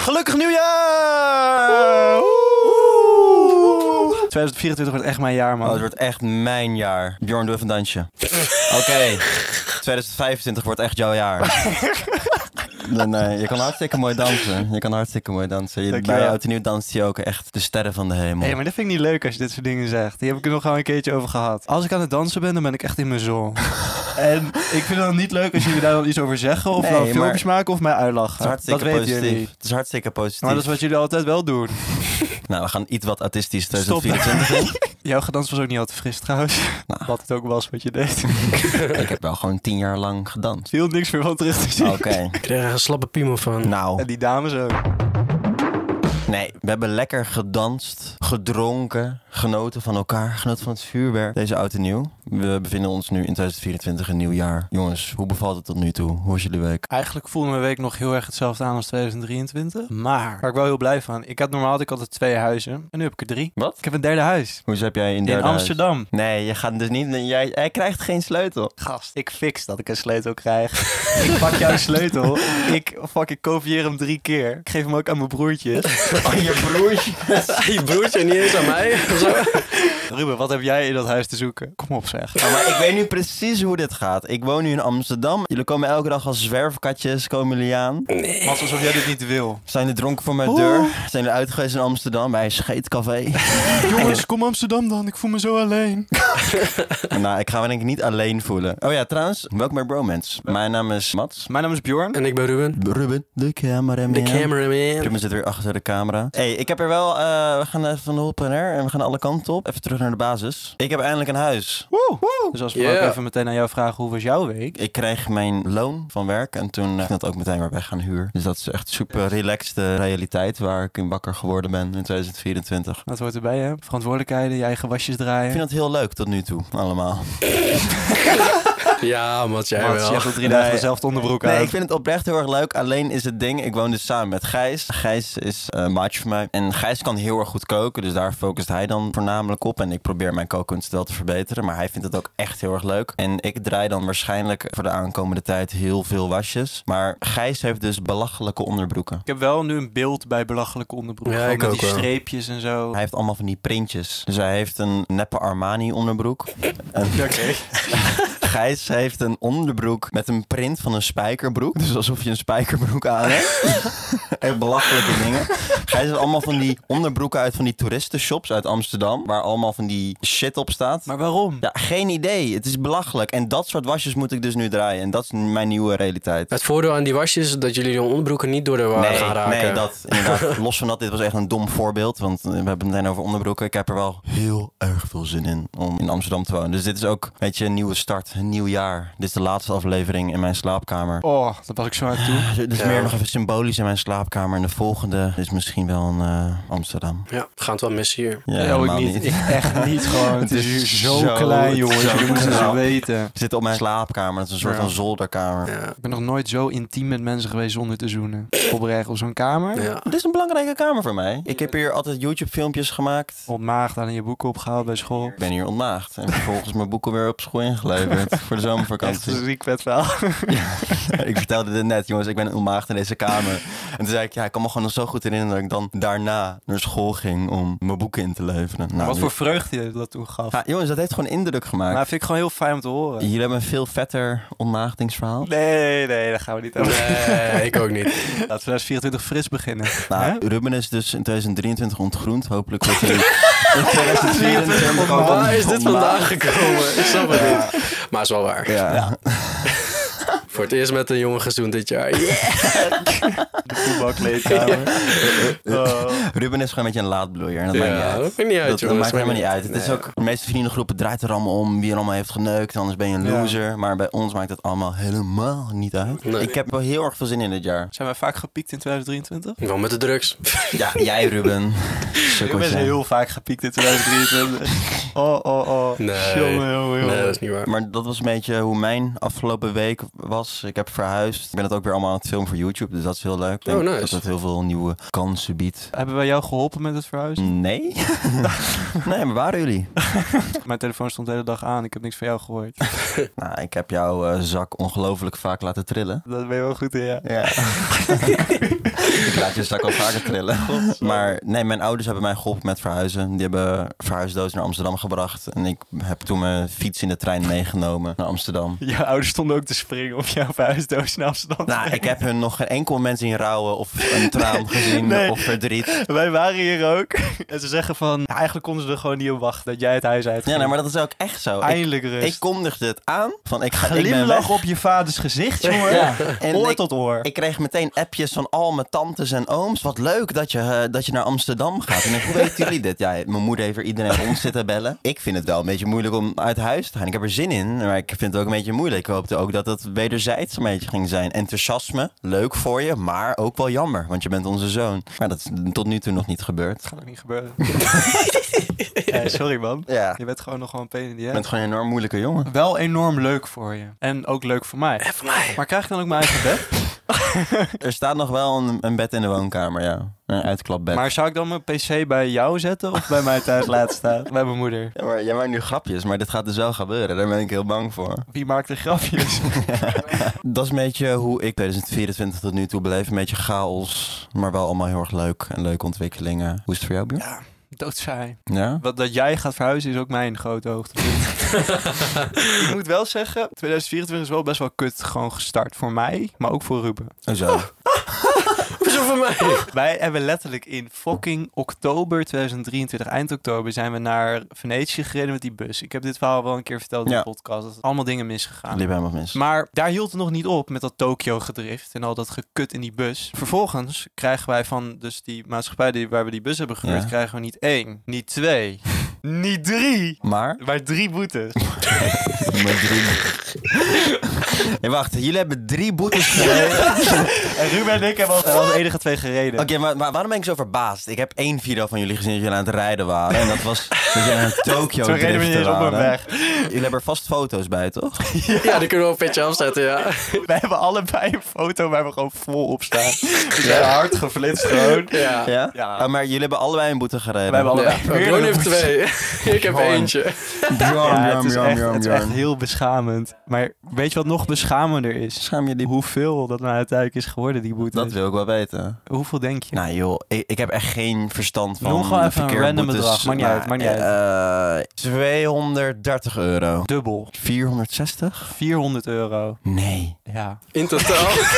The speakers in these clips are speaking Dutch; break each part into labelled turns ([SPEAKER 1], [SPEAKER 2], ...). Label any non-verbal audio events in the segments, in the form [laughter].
[SPEAKER 1] Gelukkig nieuwjaar! Woe! 2024 wordt echt mijn jaar,
[SPEAKER 2] Oh, het
[SPEAKER 1] man.
[SPEAKER 2] wordt echt mijn jaar. Bjorn, doe even een
[SPEAKER 1] [laughs]
[SPEAKER 2] dansje. Oké, 2025 wordt echt jouw
[SPEAKER 1] [laughs]
[SPEAKER 2] jaar. Nee, nee, je kan hartstikke mooi dansen. Je kan hartstikke mooi dansen. Je,
[SPEAKER 1] Dankjewel.
[SPEAKER 2] bij oud en nieuw danst je ook echt de sterren van de hemel.
[SPEAKER 1] Hé, maar dat vind ik niet leuk als je dit soort dingen zegt. Die heb ik er nog gewoon een keertje over gehad. Als ik aan het dansen ben, dan ben ik echt in mijn zon. [laughs] en ik vind het dan niet leuk als jullie daar dan iets over zeggen... of
[SPEAKER 2] Nee,
[SPEAKER 1] dan
[SPEAKER 2] maar-
[SPEAKER 1] filmpjes maken of mij
[SPEAKER 2] het is
[SPEAKER 1] uitlachen. Dat
[SPEAKER 2] hartstikke
[SPEAKER 1] weten
[SPEAKER 2] positief.
[SPEAKER 1] jullie.
[SPEAKER 2] Het is hartstikke positief.
[SPEAKER 1] Maar dat is wat jullie altijd wel doen.
[SPEAKER 2] Nou, we gaan iets wat autistisch
[SPEAKER 1] Stop.
[SPEAKER 2] 2024 in.
[SPEAKER 1] [laughs] Jouw gedans was ook niet al te fris trouwens.
[SPEAKER 2] Nou.
[SPEAKER 1] Wat het ook was wat je deed. [laughs]
[SPEAKER 2] Ik heb wel gewoon tien jaar lang gedanst.
[SPEAKER 1] Viel niks meer van terug te zien.
[SPEAKER 2] Oké,
[SPEAKER 3] Ik krijg er een slappe piemel van.
[SPEAKER 1] En
[SPEAKER 2] nou.
[SPEAKER 1] die dames ook.
[SPEAKER 2] Nee, we hebben lekker gedanst, gedronken, genoten van elkaar, genoten van het vuurwerk. Deze oud en nieuw. We bevinden ons nu in 2024, een nieuw jaar. Jongens, hoe bevalt het tot nu toe? Hoe was jullie week?
[SPEAKER 1] Eigenlijk voelde mijn week nog heel erg hetzelfde aan als 2023. Maar waar ik wel heel blij van. Ik had normaal had ik altijd twee huizen. En nu heb ik er drie.
[SPEAKER 2] Wat?
[SPEAKER 1] Ik heb een derde huis.
[SPEAKER 2] Hoe heb jij in,
[SPEAKER 1] In
[SPEAKER 2] derde huis?
[SPEAKER 1] Amsterdam.
[SPEAKER 2] Nee, je gaat dus niet. Jij, hij krijgt geen sleutel.
[SPEAKER 1] Gast, ik fix dat ik een sleutel krijg. ik pak jouw sleutel. Ik fucking kopieer hem drie keer. Ik geef hem ook aan mijn broertje.
[SPEAKER 2] [laughs] Oh, je
[SPEAKER 1] [laughs]
[SPEAKER 2] broertje.
[SPEAKER 3] Je broertje niet eens aan mij.
[SPEAKER 1] Ruben, wat heb jij in dat huis te zoeken? Kom op zeg.
[SPEAKER 2] Ja, maar ik weet nu precies hoe dit gaat. Ik woon nu in Amsterdam. Jullie komen elke dag als zwerfkatjes, komen jullie aan.
[SPEAKER 1] Mas alsof jij dit niet wil.
[SPEAKER 2] Zijn er dronken voor mijn
[SPEAKER 1] Oeh.
[SPEAKER 2] deur. Zijn er uit geweest in Amsterdam bij een scheetcafé.
[SPEAKER 1] Jongens, kom Amsterdam dan. Ik voel me zo alleen.
[SPEAKER 2] nou, ik ga me denk ik niet alleen voelen. Oh ja, trouwens, welkom bij Bromance. Mijn naam is Mats.
[SPEAKER 1] Mijn naam is Bjorn.
[SPEAKER 3] En ik ben Ruben.
[SPEAKER 2] Ruben, de cameraman.
[SPEAKER 3] De cameraman.
[SPEAKER 2] Ruben zit weer achter de camera. hey, ik heb er wel... eh, we gaan even van de hop en her en we gaan alle kanten op. Even terug naar de basis. Ik heb eindelijk een huis.
[SPEAKER 1] Woe. Dus als we
[SPEAKER 3] Yeah.
[SPEAKER 1] ook even meteen aan jou vragen, hoe was jouw week?
[SPEAKER 2] Ik kreeg mijn loon van werk en toen eh, ging dat ook meteen weer weg aan huur. Dus dat is echt super relaxed eh, realiteit waar ik in wakker geworden ben in 2024.
[SPEAKER 1] Dat hoort erbij hè. Verantwoordelijkheden, je eigen wasjes
[SPEAKER 2] Ik
[SPEAKER 1] draaien.
[SPEAKER 2] vind dat heel leuk tot nu toe, allemaal.
[SPEAKER 3] Ja, Mats, jij
[SPEAKER 1] Mats, je
[SPEAKER 3] wel.
[SPEAKER 1] hebt al drie
[SPEAKER 2] Nee.
[SPEAKER 1] dagen dezelfde onderbroek
[SPEAKER 2] Nee,
[SPEAKER 1] aan.
[SPEAKER 2] ik vind het oprecht heel erg leuk. Alleen is het ding, ik woon dus samen met Gijs. Gijs is eh, een maatje van mij. En Gijs kan heel erg goed koken, dus daar focust hij dan voornamelijk op. En ik probeer mijn kookkunst wel te verbeteren, maar hij vindt het ook echt heel erg leuk. En ik draai dan waarschijnlijk voor de aankomende tijd heel veel wasjes. Maar Gijs heeft dus belachelijke onderbroeken.
[SPEAKER 1] Ik heb wel nu een beeld bij belachelijke onderbroek.
[SPEAKER 3] Ja,
[SPEAKER 1] Gewoon
[SPEAKER 3] ik
[SPEAKER 1] met
[SPEAKER 3] ook
[SPEAKER 1] die
[SPEAKER 3] wel.
[SPEAKER 1] streepjes en zo.
[SPEAKER 2] Hij heeft allemaal van die printjes. Dus hij heeft een neppe Armani onderbroek. En
[SPEAKER 1] Oké.
[SPEAKER 2] Gijs heeft een onderbroek met een print van een spijkerbroek. Dus alsof je een spijkerbroek aan hebt. Echt belachelijke dingen. Gijs heeft allemaal van die onderbroeken uit van die toeristenshops uit Amsterdam. Waar allemaal van die shit op staat.
[SPEAKER 1] Maar waarom?
[SPEAKER 2] Ja, geen idee. Het is belachelijk. En dat soort wasjes moet ik dus nu draaien. En dat is mijn nieuwe realiteit.
[SPEAKER 3] Het voordeel aan die wasjes is dat jullie hun onderbroeken niet door de war
[SPEAKER 2] Nee,
[SPEAKER 3] gaan raken.
[SPEAKER 2] nee, dat inderdaad. [laughs] Los van dat, dit was echt een dom voorbeeld. Want we hebben het meteen over onderbroeken. Ik heb er wel heel erg veel zin in om in Amsterdam te wonen. Dus dit is ook, weet je, een nieuwe start, een nieuw jaar. Dit is de laatste aflevering in mijn slaapkamer.
[SPEAKER 1] Oh, dat was ik zo aan toe.
[SPEAKER 2] Dus Dit is
[SPEAKER 3] Ja.
[SPEAKER 2] meer nog even symbolisch in mijn slaapkamer. En de volgende is misschien wel een eh, Amsterdam.
[SPEAKER 3] Ja, we gaan het wel missen hier.
[SPEAKER 2] Ja,
[SPEAKER 1] Ja, ik niet. Ik echt niet gewoon. Het is hier zo, klein, jongens.
[SPEAKER 2] zo
[SPEAKER 1] Jullie moeten
[SPEAKER 2] knap.
[SPEAKER 1] het weten.
[SPEAKER 2] Ik zit op mijn slaapkamer. Dat is een soort
[SPEAKER 1] Ja.
[SPEAKER 2] van zolderkamer.
[SPEAKER 3] Ja.
[SPEAKER 1] Ik ben nog nooit zo intiem met mensen geweest zonder te zoenen. Oprecht op zo'n kamer.
[SPEAKER 3] ja.
[SPEAKER 2] Dit is een belangrijke kamer voor mij. Ik heb hier altijd YouTube-filmpjes gemaakt.
[SPEAKER 1] Ontmaagd aan je boeken opgehaald bij school.
[SPEAKER 2] Ik ben hier ontmaagd en vervolgens mijn boeken weer op school ingeleverd voor de
[SPEAKER 1] Echt
[SPEAKER 2] zomervakantie.
[SPEAKER 1] een ziek vet verhaal.
[SPEAKER 2] [laughs] ik vertelde dit net, jongens, ik ben ontmaagd in deze kamer. En toen zei ik, ja, ik kan me gewoon nog zo goed herinneren dat ik dan daarna naar school ging om mijn boeken in te leveren. Nou,
[SPEAKER 1] Wat
[SPEAKER 2] nu-
[SPEAKER 1] voor vreugde je dat toen gaf.
[SPEAKER 2] Ja, jongens, dat heeft gewoon indruk gemaakt.
[SPEAKER 1] Maar vind ik gewoon heel fijn om te horen.
[SPEAKER 2] Jullie hebben een veel vetter
[SPEAKER 3] [laughs]
[SPEAKER 2] ontmaagdingsverhaal.
[SPEAKER 1] Nee, nee, dat gaan we niet over.
[SPEAKER 3] Nee, [laughs] ik ook niet.
[SPEAKER 1] Laten we 2024 fris beginnen. Hè?
[SPEAKER 2] Nou, Ruben is dus in 2023 ontgroend. Hopelijk
[SPEAKER 3] [laughs]
[SPEAKER 2] wordt hij in 2024 ook
[SPEAKER 3] Waar is dit
[SPEAKER 2] ontmaagd.
[SPEAKER 3] vandaan gekomen? Ik snap het niet. Maar is wel waar.
[SPEAKER 2] Ja.
[SPEAKER 3] Voor het eerst met een jongen gezoend dit jaar.
[SPEAKER 1] De voetbalkleedkamer. Oh.
[SPEAKER 2] [laughs] Ruben is gewoon een beetje een laadbloeier. En dat maakt niet
[SPEAKER 3] Ja,
[SPEAKER 2] uit.
[SPEAKER 3] dat vind ik niet uit,
[SPEAKER 2] Dat, dat
[SPEAKER 3] jongens.
[SPEAKER 2] maakt helemaal niet uit. Het is
[SPEAKER 3] Nee.
[SPEAKER 2] ook, de meeste vriendengroepen draait er allemaal om wie er allemaal heeft geneukt. Anders ben je een
[SPEAKER 1] Ja.
[SPEAKER 2] loser. Maar bij ons maakt het allemaal helemaal niet uit.
[SPEAKER 3] Nee.
[SPEAKER 2] Ik heb wel heel erg veel zin in dit jaar.
[SPEAKER 1] Zijn wij vaak gepiekt in 2023?
[SPEAKER 3] Wel met de drugs.
[SPEAKER 2] Ja, jij Ruben.
[SPEAKER 1] Ik ben
[SPEAKER 2] Sukkeltje.
[SPEAKER 1] heel vaak gepiekt in 2023. Oh, oh, oh.
[SPEAKER 3] Nee.
[SPEAKER 1] Jongen, jongen, jongen.
[SPEAKER 3] [laughs] Nee, dat is niet waar.
[SPEAKER 2] [laughs] Maar dat was een beetje hoe mijn afgelopen week was. Ik heb verhuisd. Ik ben het ook weer allemaal aan het filmen voor YouTube. Dus dat is heel leuk. Ik denk
[SPEAKER 3] Oh, nice.
[SPEAKER 2] Dat het heel veel nieuwe kansen biedt.
[SPEAKER 1] Hebben wij jou geholpen met het verhuizen?
[SPEAKER 2] Nee? [laughs] nee, maar waren jullie?
[SPEAKER 1] Mijn telefoon stond de hele dag aan. Ik heb niks van jou gehoord. [laughs]
[SPEAKER 2] Nou, ik heb jouw eh, zak ongelooflijk vaak laten trillen.
[SPEAKER 1] [laughs] Dat ben je wel goed in, ja.
[SPEAKER 2] Ja. Ik laat je zak al vaker trillen. Maar nee, mijn ouders hebben mij geholpen met verhuizen. Die hebben verhuisdoos naar Amsterdam gebracht. En ik heb toen mijn fiets in de trein meegenomen naar Amsterdam.
[SPEAKER 1] Je ouders stonden ook te springen op jouw verhuisdoos in Amsterdam.
[SPEAKER 2] Nou, ik heb hun nog geen enkel mens zien rouwen of een traan gezien
[SPEAKER 1] nee.
[SPEAKER 2] of verdriet.
[SPEAKER 1] [laughs] Wij waren hier ook. [laughs] En ze zeggen van, ja, eigenlijk konden ze er gewoon niet op wachten dat jij het huis uit.
[SPEAKER 2] Ja, nee, maar dat is ook echt zo. Ik,
[SPEAKER 1] Eindelijk rust.
[SPEAKER 2] ik kondigde het aan van ik ga ik ben weg.
[SPEAKER 1] Glimlach op je vaders gezicht, jongen.
[SPEAKER 2] [laughs] Ja. En
[SPEAKER 1] Oor
[SPEAKER 2] ik-
[SPEAKER 1] tot oor.
[SPEAKER 2] Ik kreeg meteen appjes van al mijn tantes en ooms. Wat leuk dat je, eh, dat je naar Amsterdam gaat. En ik, hoe weten jullie dit? Ja, mijn moeder heeft er iedereen rond zitten bellen. Ik vind het wel een beetje moeilijk om uit huis te gaan. Ik heb er zin in, maar ik vind het ook een beetje moeilijk. Ik hoopte ook dat het wederzijds een beetje ging zijn. Enthousiasme, leuk voor je, maar ook wel jammer. Want je bent onze zoon. Maar dat is tot nu toe nog niet gebeurd.
[SPEAKER 1] kan ook niet gebeuren.
[SPEAKER 2] [laughs]
[SPEAKER 1] [laughs] Eh, sorry man.
[SPEAKER 2] Ja.
[SPEAKER 1] Je bent gewoon nog wel een pain in the
[SPEAKER 2] Je
[SPEAKER 1] ass.
[SPEAKER 2] bent gewoon een enorm moeilijke jongen.
[SPEAKER 1] Wel enorm leuk voor je. En ook leuk voor mij.
[SPEAKER 3] Even mij.
[SPEAKER 1] Maar krijg ik dan ook mijn eigen bed?
[SPEAKER 2] Er staat nog wel een, een bed in de woonkamer, ja. Een uitklapbed.
[SPEAKER 1] Maar zou ik dan mijn pc bij jou zetten of bij mij thuis laten staan? [laughs] Bij mijn moeder.
[SPEAKER 2] Ja, maar jij maakt nu grapjes, maar dit gaat dus wel gebeuren. Daar ben ik heel bang voor.
[SPEAKER 1] Wie maakt de [laughs] grapjes?
[SPEAKER 2] Dat is een beetje hoe ik 2024 tot nu toe beleef. Een beetje chaos, maar wel allemaal heel erg leuk en leuke ontwikkelingen. Hoe is het voor jou, Björn?
[SPEAKER 1] ja, doodzaai.
[SPEAKER 2] Ja?
[SPEAKER 1] Wat dat jij gaat verhuizen is ook mijn grote [laughs] hoogtepunt. ik moet wel zeggen, 2024 is wel best wel kut gewoon gestart. Voor mij, maar ook voor Ruben.
[SPEAKER 2] Hoezo?
[SPEAKER 3] Hoezo voor mij?
[SPEAKER 1] [laughs] Wij hebben letterlijk in fucking oktober 2023, eind oktober, zijn we naar Venetië gereden met die bus. Ik heb dit verhaal wel een keer verteld in
[SPEAKER 2] Ja.
[SPEAKER 1] de podcast. Dat is allemaal dingen misgegaan.
[SPEAKER 2] Liep helemaal mis.
[SPEAKER 1] Maar daar hield het nog niet op met dat Tokio-gedrift en al dat gekut in die bus. Vervolgens krijgen wij van dus die maatschappij die, waar we die bus hebben gehuurd,
[SPEAKER 2] Ja.
[SPEAKER 1] krijgen we niet één, niet
[SPEAKER 2] [laughs]
[SPEAKER 1] twee, niet drie,
[SPEAKER 2] Maar?
[SPEAKER 1] maar drie boetes.
[SPEAKER 2] Met drie... [laughs] Nee, wacht. Jullie hebben drie boetes
[SPEAKER 1] [laughs]
[SPEAKER 2] gekregen.
[SPEAKER 1] En Ruben en ik
[SPEAKER 2] [laughs]
[SPEAKER 1] hebben als, als enige twee gereden.
[SPEAKER 2] Oké, maar, maar waarom ben ik zo verbaasd? Ik heb één video van jullie gezien dat jullie aan het rijden waren. En dat was dat jullie aan
[SPEAKER 1] [laughs]
[SPEAKER 2] het Tokyo
[SPEAKER 1] Toen reden we niet
[SPEAKER 2] driften
[SPEAKER 1] eens op een
[SPEAKER 2] waren.
[SPEAKER 1] weg.
[SPEAKER 2] Jullie hebben er vast foto's bij, toch?
[SPEAKER 3] Ja, die kunnen we op een pitje afzetten, ja.
[SPEAKER 1] [laughs] Wij hebben allebei een foto waar we gewoon vol op
[SPEAKER 2] [laughs]
[SPEAKER 1] staan. We zijn hard geflitst gewoon.
[SPEAKER 3] Ja.
[SPEAKER 2] Ja?
[SPEAKER 1] Ja.
[SPEAKER 2] Oh, maar jullie hebben allebei een boete gereden.
[SPEAKER 1] We hebben
[SPEAKER 3] Ja,
[SPEAKER 2] [laughs]
[SPEAKER 1] allebei meerdere
[SPEAKER 3] Bjorn heeft
[SPEAKER 1] boetes.
[SPEAKER 3] twee. [laughs] Ik heb
[SPEAKER 2] Bjorn.
[SPEAKER 3] eentje.
[SPEAKER 1] Ja,
[SPEAKER 2] Bjorn,
[SPEAKER 1] het, is
[SPEAKER 2] Bjorn,
[SPEAKER 1] echt,
[SPEAKER 2] Bjorn,
[SPEAKER 1] het is echt
[SPEAKER 2] Bjorn.
[SPEAKER 1] heel beschamend. Maar weet je wat nog beschamender is?
[SPEAKER 2] Schaam je die...
[SPEAKER 1] Hoeveel dat nou uiteindelijk is geworden, die boete.
[SPEAKER 2] Dat wil ik wel weten.
[SPEAKER 1] Hoeveel denk je?
[SPEAKER 2] Nou joh, ik, ik heb echt geen verstand van
[SPEAKER 1] Noem gewoon even een random
[SPEAKER 2] verkeerboetes,
[SPEAKER 1] bedrag, maakt niet uit, maakt niet
[SPEAKER 2] eh, 230 euro.
[SPEAKER 1] Dubbel.
[SPEAKER 2] 460?
[SPEAKER 1] 400 euro.
[SPEAKER 2] Nee.
[SPEAKER 1] Ja.
[SPEAKER 3] In totaal.
[SPEAKER 1] [laughs]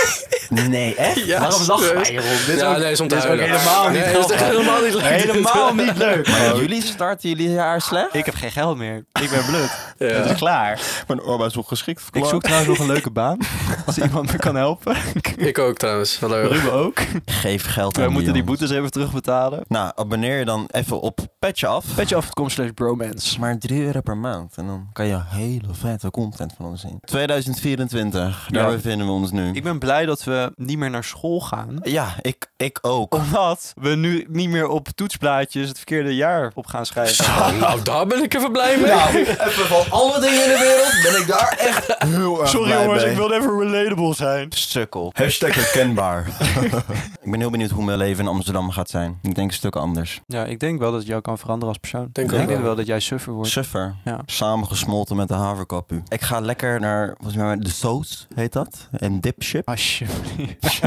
[SPEAKER 2] Nee, echt?
[SPEAKER 3] Ja, serieus.
[SPEAKER 1] hierom? Dit
[SPEAKER 3] Ja, nee, is om te huilen.
[SPEAKER 1] helemaal niet
[SPEAKER 3] Nee, dat is echt
[SPEAKER 1] grappig.
[SPEAKER 3] helemaal niet leuk. [laughs]
[SPEAKER 1] Helemaal niet leuk.
[SPEAKER 2] Maar
[SPEAKER 1] gewoon.
[SPEAKER 2] jullie starten jullie jaar slecht?
[SPEAKER 1] Ik heb geen geld meer. Ik ben blut.
[SPEAKER 3] Ja.
[SPEAKER 1] Het is klaar.
[SPEAKER 2] Ik ben ongeschikt
[SPEAKER 1] Ik zoek trouwens nog een leuke [laughs] baan. Als iemand me kan helpen.
[SPEAKER 3] Ik ook trouwens. Hallo.
[SPEAKER 1] Ruben ook.
[SPEAKER 2] Geef geld aan
[SPEAKER 1] Wij moeten die
[SPEAKER 2] jongens.
[SPEAKER 1] boetes even terugbetalen.
[SPEAKER 2] Nou, abonneer je dan even op Petje Af.
[SPEAKER 1] Petjeaf.com slash bromance.
[SPEAKER 2] Maar 3 euro per maand. En dan kan je hele vette content van ons zien. 2024, daar
[SPEAKER 1] Ja.
[SPEAKER 2] bevinden we ons nu.
[SPEAKER 1] Ik ben blij dat we niet meer naar school gaan.
[SPEAKER 2] Ja, ik, ik ook.
[SPEAKER 1] Omdat we nu niet meer op toetsblaadjes het verkeerde jaar op gaan schrijven.
[SPEAKER 3] Nou, daar ben ik even blij mee.
[SPEAKER 1] Nou,
[SPEAKER 2] [laughs] even van alle dingen in de wereld ben ik daar echt heel erg
[SPEAKER 1] Sorry
[SPEAKER 2] blij
[SPEAKER 1] jongens,
[SPEAKER 2] mee.
[SPEAKER 1] ik wilde even relatable zijn.
[SPEAKER 2] Sukkel. Hashtag herkenbaar. [laughs] ik ben heel benieuwd hoe mijn leven in Amsterdam gaat zijn. Ik denk een stuk anders.
[SPEAKER 1] Ja, ik denk wel dat het jou kan veranderen als persoon.
[SPEAKER 3] Denk
[SPEAKER 1] ik
[SPEAKER 3] ook
[SPEAKER 1] denk
[SPEAKER 3] wel.
[SPEAKER 1] wel dat jij suffer wordt.
[SPEAKER 2] Suffer.
[SPEAKER 1] Ja.
[SPEAKER 2] Samengesmolten met de haverkappu. Ik ga lekker naar, volgens mij, de Soos heet dat. En Dipship.
[SPEAKER 1] Alsjeblieft.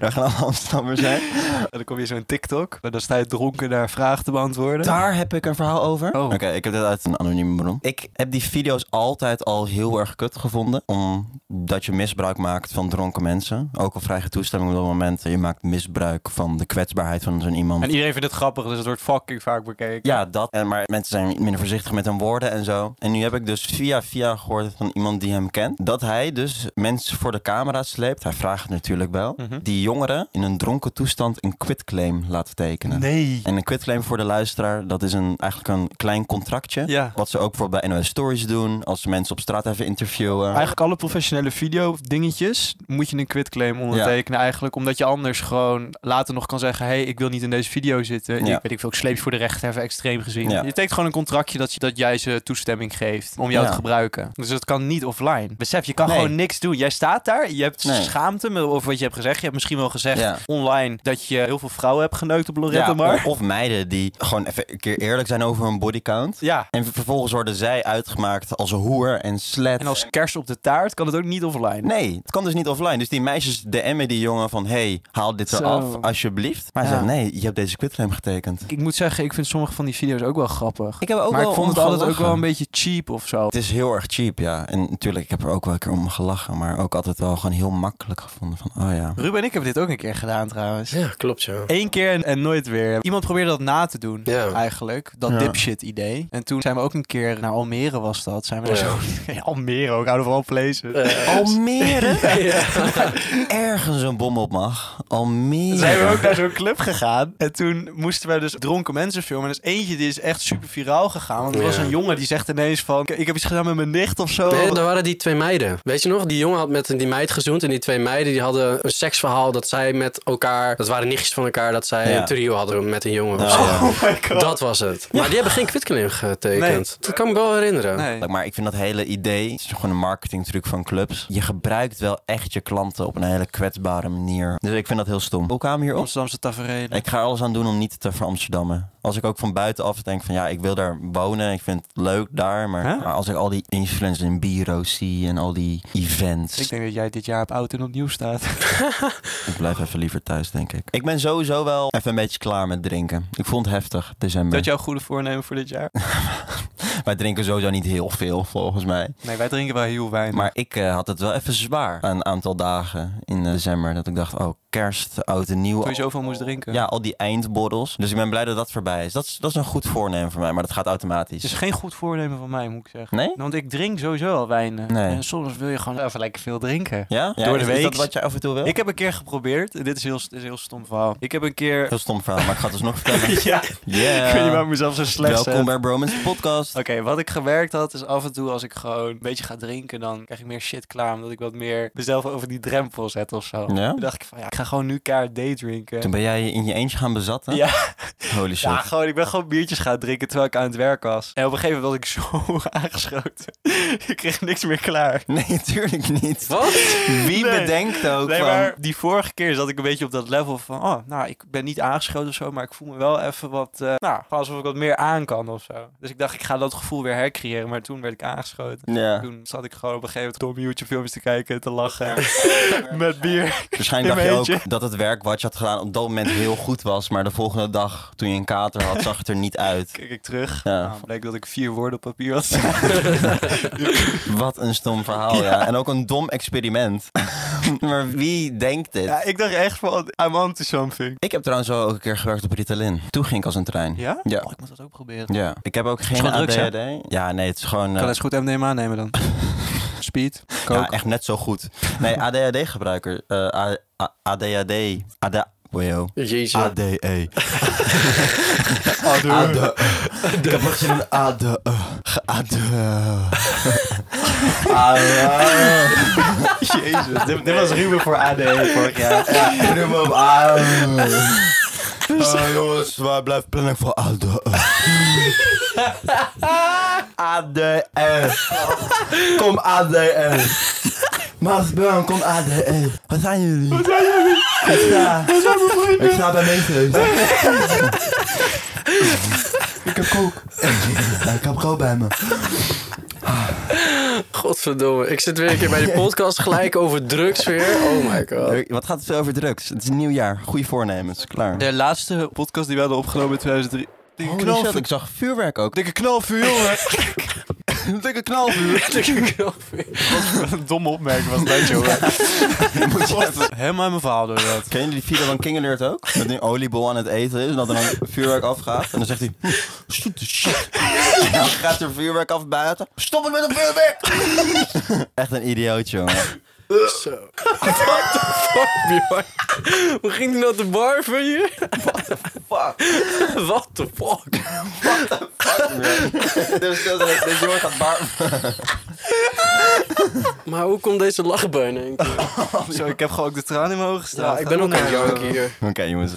[SPEAKER 2] Daar gaan alle Amsterdammers zijn.
[SPEAKER 1] en dan kom je zo'n TikTok. En dan sta je dronken naar vragen te beantwoorden.
[SPEAKER 2] Daar heb ik een verhaal over.
[SPEAKER 1] Oh.
[SPEAKER 2] Oké, ik heb dit uit een anonieme bron. Ik heb die video's altijd al heel erg kut gevonden. Omdat je misbruik maakt van dronken mensen. Ook al krijg je toestemming op dat moment. Je maakt misbruik van de kwetsbaarheid van zo'n iemand.
[SPEAKER 1] En iedereen vindt het grappig, dus het wordt fucking vaak bekeken.
[SPEAKER 2] Ja, dat. En, maar mensen zijn minder voorzichtig met hun woorden en zo. En nu heb ik dus via via gehoord van iemand die hem kent. Dat hij dus mensen voor de camera sleept. Hij vraagt het natuurlijk wel.
[SPEAKER 1] Mhm.
[SPEAKER 2] Die jongeren in een dronken toestand een quitclaim laat tekenen.
[SPEAKER 1] Nee.
[SPEAKER 2] En een quitclaim voor de luisteraar, dat is een, eigenlijk een klein contractje.
[SPEAKER 1] Ja.
[SPEAKER 2] Wat ze ook bijvoorbeeld bij NOS Stories doen. Als ze mensen op straat even interviewen.
[SPEAKER 1] Eigenlijk alle professionele video dingetjes moet je een quitclaim ondertekenen eigenlijk. Omdat je anders gewoon later nog kan zeggen... hé, hey, ik wil niet in deze video zitten.
[SPEAKER 2] Ja.
[SPEAKER 1] Ik weet ik veel, ik sleep je voor de rechter even extreem gezien.
[SPEAKER 2] Ja.
[SPEAKER 1] Je tekent gewoon een contractje dat, je, dat jij ze toestemming geeft om jou
[SPEAKER 2] Ja.
[SPEAKER 1] te gebruiken. Dus dat kan niet offline. Besef, je kan
[SPEAKER 2] Nee.
[SPEAKER 1] gewoon niks doen. Jij staat daar, je hebt
[SPEAKER 2] Nee.
[SPEAKER 1] schaamte met- over wat je hebt gezegd. Je hebt misschien wel gezegd
[SPEAKER 2] Ja.
[SPEAKER 1] online dat je heel veel vrouwen hebt geneukt op
[SPEAKER 2] Ja,
[SPEAKER 1] Loretta Mar.
[SPEAKER 2] of meiden die gewoon even een keer eerlijk zijn over hun bodycount.
[SPEAKER 1] Ja.
[SPEAKER 2] En vervolgens worden zij gemaakt als hoer en slet.
[SPEAKER 4] En als kers op de taart kan het ook niet offline.
[SPEAKER 2] Nee, het kan dus niet offline. Dus die meisjes DM'en die jongen van... hey, haal dit
[SPEAKER 4] Zo.
[SPEAKER 2] eraf, alsjeblieft. Maar hij
[SPEAKER 4] Ja.
[SPEAKER 2] zegt, nee, je hebt deze quitrem getekend.
[SPEAKER 4] Ik moet zeggen, ik vind sommige van die video's ook wel grappig.
[SPEAKER 2] Ik heb ook
[SPEAKER 4] maar
[SPEAKER 2] wel
[SPEAKER 4] ik vond het
[SPEAKER 2] om
[SPEAKER 4] altijd ook
[SPEAKER 2] gelachen.
[SPEAKER 4] wel een beetje cheap of zo.
[SPEAKER 2] Het is heel erg cheap, ja. En natuurlijk, ik heb er ook wel een keer om gelachen. Maar ook altijd wel gewoon heel makkelijk gevonden van... oh ja,
[SPEAKER 1] Ruben en ik hebben dit ook een keer gedaan trouwens.
[SPEAKER 3] Ja, klopt zo.
[SPEAKER 1] Eén keer en, en nooit weer. Iemand probeerde dat na te doen,
[SPEAKER 3] Ja.
[SPEAKER 1] eigenlijk. Dat
[SPEAKER 2] Ja.
[SPEAKER 1] dipshit idee. En toen zijn we ook een keer naar Almere was dat. Zijn we
[SPEAKER 3] Ja.
[SPEAKER 1] naar zo... [laughs] Almere ook, houden we al places.
[SPEAKER 2] Almere?
[SPEAKER 3] [laughs] Ja.
[SPEAKER 2] [laughs] Ergens een bom op mag. Almere.
[SPEAKER 1] zijn we ook naar zo'n club gegaan. En toen moesten wij dus dronken mensen filmen. En er is eentje die is echt super viraal gegaan. Want er was
[SPEAKER 3] Ja.
[SPEAKER 1] een jongen die zegt ineens van... "Ik- Ik heb iets gedaan met mijn nicht of zo. Oh
[SPEAKER 3] Nee, er waren die twee meiden. Weet je nog, die jongen had met die meid gezoend. En die twee meiden die hadden een seksverhaal dat zij met elkaar... Dat waren nichtjes van elkaar, dat zij
[SPEAKER 2] Ja.
[SPEAKER 3] een trio hadden met een jongen. of
[SPEAKER 2] Oh,
[SPEAKER 3] zo.
[SPEAKER 2] ja.
[SPEAKER 1] Oh my god.
[SPEAKER 3] Dat was het. Maar die hebben geen kwitkening getekend. Dat kan ik me wel herinneren.
[SPEAKER 1] Nee.
[SPEAKER 2] Oh. Maar ik vind dat hele idee, het is gewoon een marketingtruc van clubs. Je gebruikt wel echt je klanten op een hele kwetsbare manier. Dus ik vind dat heel stom. Hoe kwamen we hierop?
[SPEAKER 1] Amsterdamse tafereel.
[SPEAKER 2] Ik ga er alles aan doen om niet te veramsterdammen. Als ik ook van buitenaf denk van ja, ik wil daar wonen. Ik vind het leuk daar. Maar,
[SPEAKER 1] Huh?
[SPEAKER 2] maar als ik al die influencers in bureau zie en al die events.
[SPEAKER 1] Ik
[SPEAKER 2] Ik,
[SPEAKER 1] denk dat jij dit jaar op oud en opnieuw staat. [laughs]
[SPEAKER 2] blijf even liever thuis, denk ik. Ik ben sowieso wel even een beetje klaar met drinken. Ik vond het heftig, december.
[SPEAKER 1] Dat jouw goede voornemen voor dit
[SPEAKER 2] [laughs]
[SPEAKER 1] jaar?
[SPEAKER 2] Wij drinken sowieso niet heel veel, volgens mij.
[SPEAKER 1] Nee, wij drinken wel heel weinig.
[SPEAKER 2] Maar ik eh, had het wel even zwaar een aantal dagen in eh, december. Dat ik dacht, oh, kerst, oud en nieuw.
[SPEAKER 1] Toen je zoveel moest drinken.
[SPEAKER 2] Ja, al die eindborrels. Dus ik ben blij dat dat voorbij is. Dat is, dat is een goed voornemen voor mij, maar dat gaat
[SPEAKER 1] Het is
[SPEAKER 2] automatisch.
[SPEAKER 1] geen goed voornemen van mij, moet ik zeggen.
[SPEAKER 2] Nee?
[SPEAKER 1] Want ik drink sowieso al weinig.
[SPEAKER 2] Nee.
[SPEAKER 1] En soms wil je gewoon even lekker veel drinken.
[SPEAKER 2] Ja? ja
[SPEAKER 1] Door
[SPEAKER 2] is,
[SPEAKER 1] de
[SPEAKER 2] Is dat
[SPEAKER 1] week.
[SPEAKER 2] wat je af en toe wil?
[SPEAKER 1] Ik heb een keer geprobeerd, en dit is heel, dit is een heel stom verhaal. Ik heb een keer... [laughs]
[SPEAKER 2] Heel stom verhaal, maar ik ga het dus nog vertellen.
[SPEAKER 1] ja,
[SPEAKER 2] Yeah.
[SPEAKER 1] ik weet niet waarom ik mezelf zo slecht zet.
[SPEAKER 2] Welkom bij Bromance Podcast.
[SPEAKER 1] Oké, wat ik gewerkt had is af en toe als ik gewoon een beetje ga drinken, dan krijg ik meer shit klaar. Omdat ik wat meer mezelf over die drempel zet of zo.
[SPEAKER 2] Ja?
[SPEAKER 1] Toen dacht ik van ja, ik ga gewoon nu kaart day drinken.
[SPEAKER 2] Toen ben jij je in je eentje gaan bezatten?
[SPEAKER 1] Ja, [laughs]
[SPEAKER 2] Holy shit.
[SPEAKER 1] ja, gewoon, ik ben gewoon biertjes gaan drinken terwijl ik aan het werk was. En op een gegeven moment was ik zo [laughs] aangeschoten. ik kreeg niks meer klaar.
[SPEAKER 2] Nee, [laughs] tuurlijk niet.
[SPEAKER 3] Wat?
[SPEAKER 2] Wie
[SPEAKER 1] Nee.
[SPEAKER 2] bedenkt ook
[SPEAKER 1] Nee,
[SPEAKER 2] van...
[SPEAKER 1] maar die vorige keer zat ik een beetje op dat level van, oh, nou, ik ben niet aangeschoten of zo, maar ik voel me wel even wat, eh, nou, gewoon alsof ik wat meer aan kan of zo. Dus ik dacht, ik ga dat gevoel weer hercreëren, maar toen werd ik aangeschoten.
[SPEAKER 2] Ja.
[SPEAKER 1] Toen zat ik gewoon op een gegeven moment om YouTube filmpjes te kijken en te lachen. [laughs] Met bier.
[SPEAKER 2] Waarschijnlijk
[SPEAKER 1] In
[SPEAKER 2] dacht je
[SPEAKER 1] mijn
[SPEAKER 2] ook dat het werk wat je had gedaan op dat moment heel goed was. Maar de volgende dag, toen je een kater had, zag het er niet uit.
[SPEAKER 1] Kijk ik terug.
[SPEAKER 2] Ja.
[SPEAKER 1] Nou, bleek dat ik vier woorden op papier had.
[SPEAKER 2] Wat een stom verhaal, ja. En ook een dom experiment. [laughs] maar wie denkt dit?
[SPEAKER 1] ja, ik dacht echt van, I'm on to something.
[SPEAKER 2] Ik heb trouwens wel ook een keer gewerkt op Ritalin. Toen ging ik als een trein.
[SPEAKER 1] Ja?
[SPEAKER 2] Ja.
[SPEAKER 1] Oh, ik moet dat ook proberen.
[SPEAKER 2] Ja. Ik heb ook geen
[SPEAKER 1] gewoon drugs, hè?
[SPEAKER 2] ADHD. ja, nee, het is gewoon... eh,
[SPEAKER 1] Kan eens goed MDMA nemen [laughs] dan. Speed, coke.
[SPEAKER 2] ja, echt net zo goed. Nee, ADHD-gebruiker. eh, A- A- ADHD. AD... Wow.
[SPEAKER 3] Jeetje.
[SPEAKER 2] Ah.
[SPEAKER 1] E.
[SPEAKER 2] [laughs] ADE. ADE. E. Ik heb nog gezien een ADE. ADE. ADE.
[SPEAKER 1] Jezus, dit, dit was ruwe voor AD vorig jaar.
[SPEAKER 2] Noem hem ADE. Ah, jongens, waar blijft planning voor E. ADE? ADE.
[SPEAKER 1] E.
[SPEAKER 2] Kom ADE. Maas Brown, kom ADE. Wat zijn jullie? Wat zijn jullie? Ik sta, ik sta bij mensen. ik heb kook. ik heb kook bij me.
[SPEAKER 3] Godverdomme. Ik zit weer een keer bij die podcast gelijk over drugs weer. Oh my god.
[SPEAKER 2] Wat gaat het veel over drugs? Het is nieuwjaar. Goede voornemens. Klaar.
[SPEAKER 1] De laatste podcast die we hadden opgenomen in 2003. Dikke
[SPEAKER 2] Holy
[SPEAKER 1] knalvuur.
[SPEAKER 2] shit, ik zag vuurwerk ook. [laughs]
[SPEAKER 1] Dikke knalvuur, jongen. [laughs]
[SPEAKER 2] Dikke knalvuur.
[SPEAKER 1] Een domme opmerking was dat, jongen. [laughs] Helemaal mijn verhaal door dat.
[SPEAKER 2] Ken je die video van King Alert ook? Dat nu een oliebol aan het eten is en dat er dan vuurwerk afgaat. En dan zegt hij, "Hm, zoete shit. En dan gaat er vuurwerk af buiten. Stop het met het vuurwerk! [laughs] Echt een idioot, [laughs] jongen.
[SPEAKER 3] Zo. Fuck, Bjorn. Hoe ging die nou te bar van je? What the fuck? What the fuck?
[SPEAKER 2] Dus dat, dat jongen gaat bar...
[SPEAKER 3] Maar hoe komt deze lach bijna? een keer?
[SPEAKER 1] Zo, ik heb gewoon ook de traan in mijn ogen eh, staan.
[SPEAKER 3] Ja, ik ben ook een jank
[SPEAKER 1] jankie.
[SPEAKER 3] hier.
[SPEAKER 2] Oké, jongens.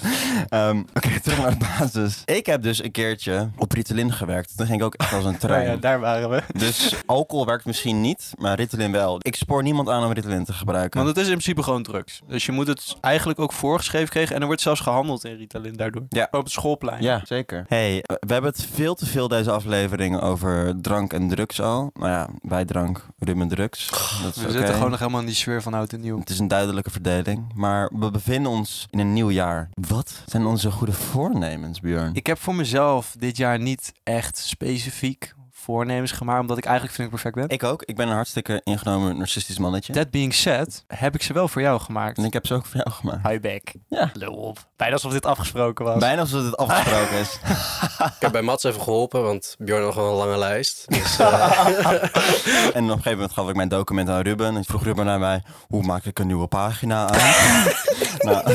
[SPEAKER 2] Ehm, Oké, [laughs] terug naar de basis. Ik heb dus een keertje op Ritalin gewerkt. Toen ging ik ook echt
[SPEAKER 1] [laughs]
[SPEAKER 2] als een trein.
[SPEAKER 1] Nou ja, daar waren we.
[SPEAKER 2] Dus alcohol werkt misschien niet, maar Ritalin wel. Ik spoor niemand aan om Ritalin te gebruiken.
[SPEAKER 1] [laughs] Want het is in principe gewoon drugs. Dus je moet het eigenlijk ook voorgeschreven krijgen. En er wordt zelfs gehandeld in Ritalin daardoor.
[SPEAKER 2] Ja.
[SPEAKER 1] Op het schoolplein.
[SPEAKER 2] Ja, zeker. hey, eh, we hebben het veel te veel deze aflevering over drank en drugs al. Nou ja, bij drank, rum en drugs. Dat is
[SPEAKER 1] Oh, We
[SPEAKER 2] oké.
[SPEAKER 1] zitten gewoon nog helemaal in die sfeer van oud en nieuw.
[SPEAKER 2] Het is een duidelijke verdeling, maar we bevinden ons in een nieuw jaar. Wat zijn onze goede voornemens, Björn?
[SPEAKER 1] Ik heb voor mezelf dit jaar niet echt specifiek voornemens gemaakt. Omdat ik eigenlijk vind ik perfect ben.
[SPEAKER 2] Ik ook. Ik ben een hartstikke ingenomen narcistisch mannetje.
[SPEAKER 1] That being said, heb ik ze wel voor jou gemaakt.
[SPEAKER 2] En ik heb ze ook voor jou gemaakt.
[SPEAKER 1] Hi back.
[SPEAKER 2] Ja.
[SPEAKER 1] Lul op. Bijna alsof dit afgesproken [laughs] was.
[SPEAKER 2] Bijna alsof het afgesproken
[SPEAKER 1] [laughs]
[SPEAKER 2] is.
[SPEAKER 3] Ik heb bij Mats even geholpen, want Bjorn had gewoon een lange lijst. Dus, eh,
[SPEAKER 2] En op een gegeven moment gaf ik mijn document aan Ruben. En vroeg Ruben naar mij, hoe maak ik een nieuwe pagina aan?
[SPEAKER 1] [laughs]
[SPEAKER 2] nou,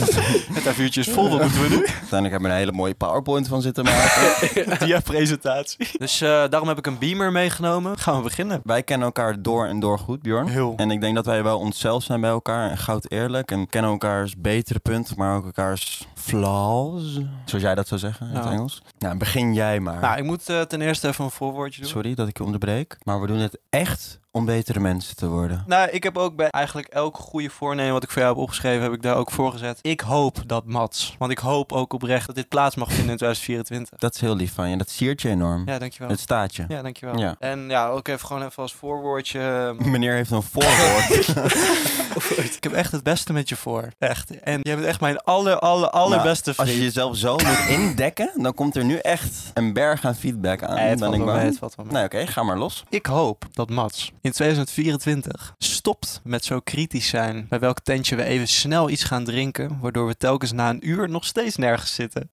[SPEAKER 1] Het aviertje is vol, wat moeten we nu?
[SPEAKER 2] uiteindelijk heb ik er een hele mooie powerpoint van zitten
[SPEAKER 1] [laughs]
[SPEAKER 2] maken.
[SPEAKER 1] Dia presentatie. Dus eh, daarom heb ik een beamer meegenomen. Gaan we beginnen.
[SPEAKER 2] Wij kennen elkaar door en door goed, Bjorn.
[SPEAKER 1] Heel.
[SPEAKER 2] En ik denk dat wij wel onszelf zijn bij elkaar en goud eerlijk. En kennen elkaars betere punten, maar ook elkaars flaws. Zoals jij dat zou zeggen in het
[SPEAKER 1] Ja.
[SPEAKER 2] Engels. Nou, begin jij maar.
[SPEAKER 1] Nou, ik moet eh, ten eerste even een voorwoordje doen.
[SPEAKER 2] Sorry dat ik je onderbreek, maar we doen het echt om betere mensen te worden.
[SPEAKER 1] Nou, ik heb ook bij eigenlijk elk goede voornemen wat ik voor jou heb opgeschreven, heb ik daar ook voor gezet. Ik hoop dat Mats, want ik hoop ook oprecht dat dit plaats mag
[SPEAKER 2] [laughs]
[SPEAKER 1] vinden in 2024.
[SPEAKER 2] Dat is heel lief van je. Dat siert je enorm.
[SPEAKER 1] Ja, dankjewel.
[SPEAKER 2] Het staat je.
[SPEAKER 1] Ja, dankjewel.
[SPEAKER 2] Ja.
[SPEAKER 1] En ja, ook even gewoon even als voorwoordje.
[SPEAKER 2] [laughs]
[SPEAKER 1] ehm,
[SPEAKER 2] Meneer heeft een
[SPEAKER 1] [laughs]
[SPEAKER 2] voorwoord.
[SPEAKER 1] Ik heb echt het beste met je voor. Echt. En je bent echt mijn aller, aller, allerbeste
[SPEAKER 2] Als
[SPEAKER 1] vriend.
[SPEAKER 2] je jezelf zo moet indekken, dan komt er nu echt een berg aan feedback aan.
[SPEAKER 1] Eh,
[SPEAKER 2] ben
[SPEAKER 1] het valt
[SPEAKER 2] ik
[SPEAKER 1] wel mee,
[SPEAKER 2] bang.
[SPEAKER 1] het valt wel mee.
[SPEAKER 2] Nou, oké, ga maar los. [laughs]
[SPEAKER 1] Ik hoop dat Mats in 2024 stopt met zo kritisch zijn bij welk tentje we even snel iets gaan drinken, waardoor we telkens na een uur nog steeds nergens zitten.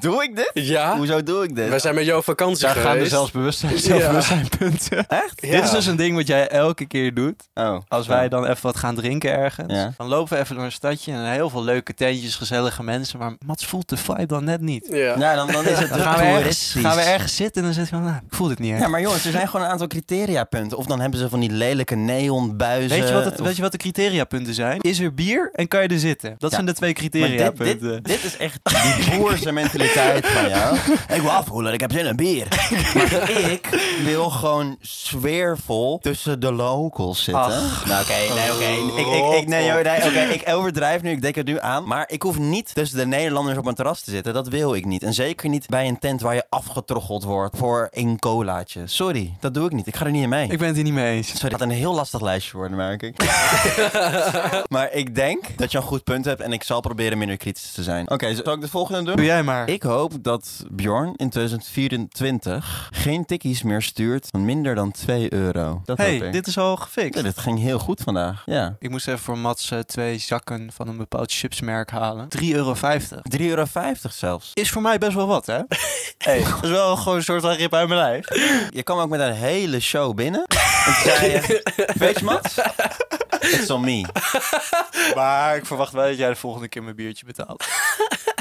[SPEAKER 2] Doe ik dit?
[SPEAKER 1] Ah.
[SPEAKER 3] ja,
[SPEAKER 2] Hoezo doe ik dit?
[SPEAKER 3] wij zijn met jou op vakantie
[SPEAKER 1] Daar
[SPEAKER 3] geweest.
[SPEAKER 1] gaan er zelfs bewustzijn, zelfbewustzijn punten.
[SPEAKER 2] Echt?
[SPEAKER 3] Ja.
[SPEAKER 1] Dit is dus een ding wat jij elke keer doet.
[SPEAKER 2] Oh.
[SPEAKER 1] Als wij dan even wat gaan drinken ergens,
[SPEAKER 2] Ja.
[SPEAKER 1] dan lopen we even door een stadje en heel veel leuke tentjes, gezellige mensen, maar Mats voelt de vibe dan net niet.
[SPEAKER 3] Ja.
[SPEAKER 2] Nou, dan, dan
[SPEAKER 1] [laughs]
[SPEAKER 2] is het
[SPEAKER 1] Dan gaan we, ergens,
[SPEAKER 2] toeristisch.
[SPEAKER 1] gaan we ergens zitten en dan zit je van, nou, ik voel dit niet echt.
[SPEAKER 2] Ja, maar jongens, er zijn gewoon een aantal criteria-punten. Of dan hebben ze van die lelijke neonbuizen.
[SPEAKER 1] Weet je, wat het,
[SPEAKER 2] of-
[SPEAKER 1] weet je wat de criteriapunten zijn? Is er bier en kan je er zitten? Dat
[SPEAKER 2] Ja.
[SPEAKER 1] zijn de twee
[SPEAKER 2] Maar dit,
[SPEAKER 1] criteriapunten.
[SPEAKER 2] dit, dit is echt die boerse mentaliteit van
[SPEAKER 1] [laughs]
[SPEAKER 2] jou. Ik wil afvoelen, ik heb zin in bier. Maar ik wil gewoon sfeervol tussen de locals zitten.
[SPEAKER 1] Ach.
[SPEAKER 2] Nou oké, nee, oké. Ik, ik, ik, nee, joh, nee, oké, ik overdrijf nu, ik dek het nu aan. Maar ik hoef niet tussen de Nederlanders op een terras te zitten. Dat wil ik niet. En zeker niet bij een tent waar je afgetroggeld wordt voor één colaatje. Sorry, dat doe ik niet. Ik ga er niet in mee.
[SPEAKER 1] Ik ben het hier niet mee eens.
[SPEAKER 2] Sorry, het gaat een heel lastig lijstje worden, merk
[SPEAKER 1] [laughs]
[SPEAKER 2] ik. maar ik denk dat je een goed punt hebt en ik zal proberen minder kritisch te zijn. Oké, zal ik de volgende
[SPEAKER 1] Doe
[SPEAKER 2] doen?
[SPEAKER 1] jij maar.
[SPEAKER 2] Ik hoop dat Bjorn in 2024 geen tikkies meer stuurt van minder dan 2 euro. Dat hoop
[SPEAKER 1] hey,
[SPEAKER 2] ik.
[SPEAKER 1] dit is al gefixt.
[SPEAKER 2] Ja, dit ging heel goed vandaag. Ja.
[SPEAKER 1] Ik moest even voor Mats eh, twee zakken van een bepaald chipsmerk halen. 3,50 euro.
[SPEAKER 2] 3,50 euro zelfs.
[SPEAKER 1] Is voor mij best wel
[SPEAKER 2] [laughs]
[SPEAKER 1] wat, hè? hey, dat is wel gewoon een soort van rip uit mijn lijf.
[SPEAKER 2] Je kwam ook met een hele show binnen. En toen zei je,
[SPEAKER 1] [laughs]
[SPEAKER 2] weet je Mats? It's on me.
[SPEAKER 1] Maar ik verwacht wel dat jij de volgende keer mijn biertje betaalt.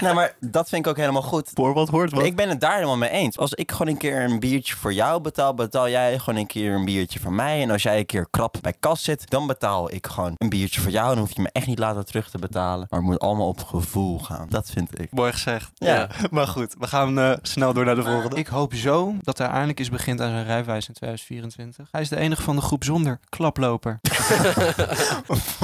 [SPEAKER 2] Nou, maar dat vind ik ook helemaal goed.
[SPEAKER 1] Voor wat hoort
[SPEAKER 2] Ik ben het daar helemaal mee eens. Als ik gewoon een keer een biertje voor jou betaal, betaal jij gewoon een keer een biertje voor mij. En als jij een keer krap bij kas zit, dan betaal ik gewoon een biertje voor jou. Dan hoef je me echt niet later terug te betalen. Maar het moet allemaal op gevoel gaan. Dat vind ik. [laughs]
[SPEAKER 1] Mooi gezegd.
[SPEAKER 2] Ja.
[SPEAKER 1] Maar goed, we gaan eh, snel door naar de volgende. Ik hoop zo dat hij eindelijk eens begint aan zijn rijwijs in 2024. Hij is de enige van de groep zonder klaploper.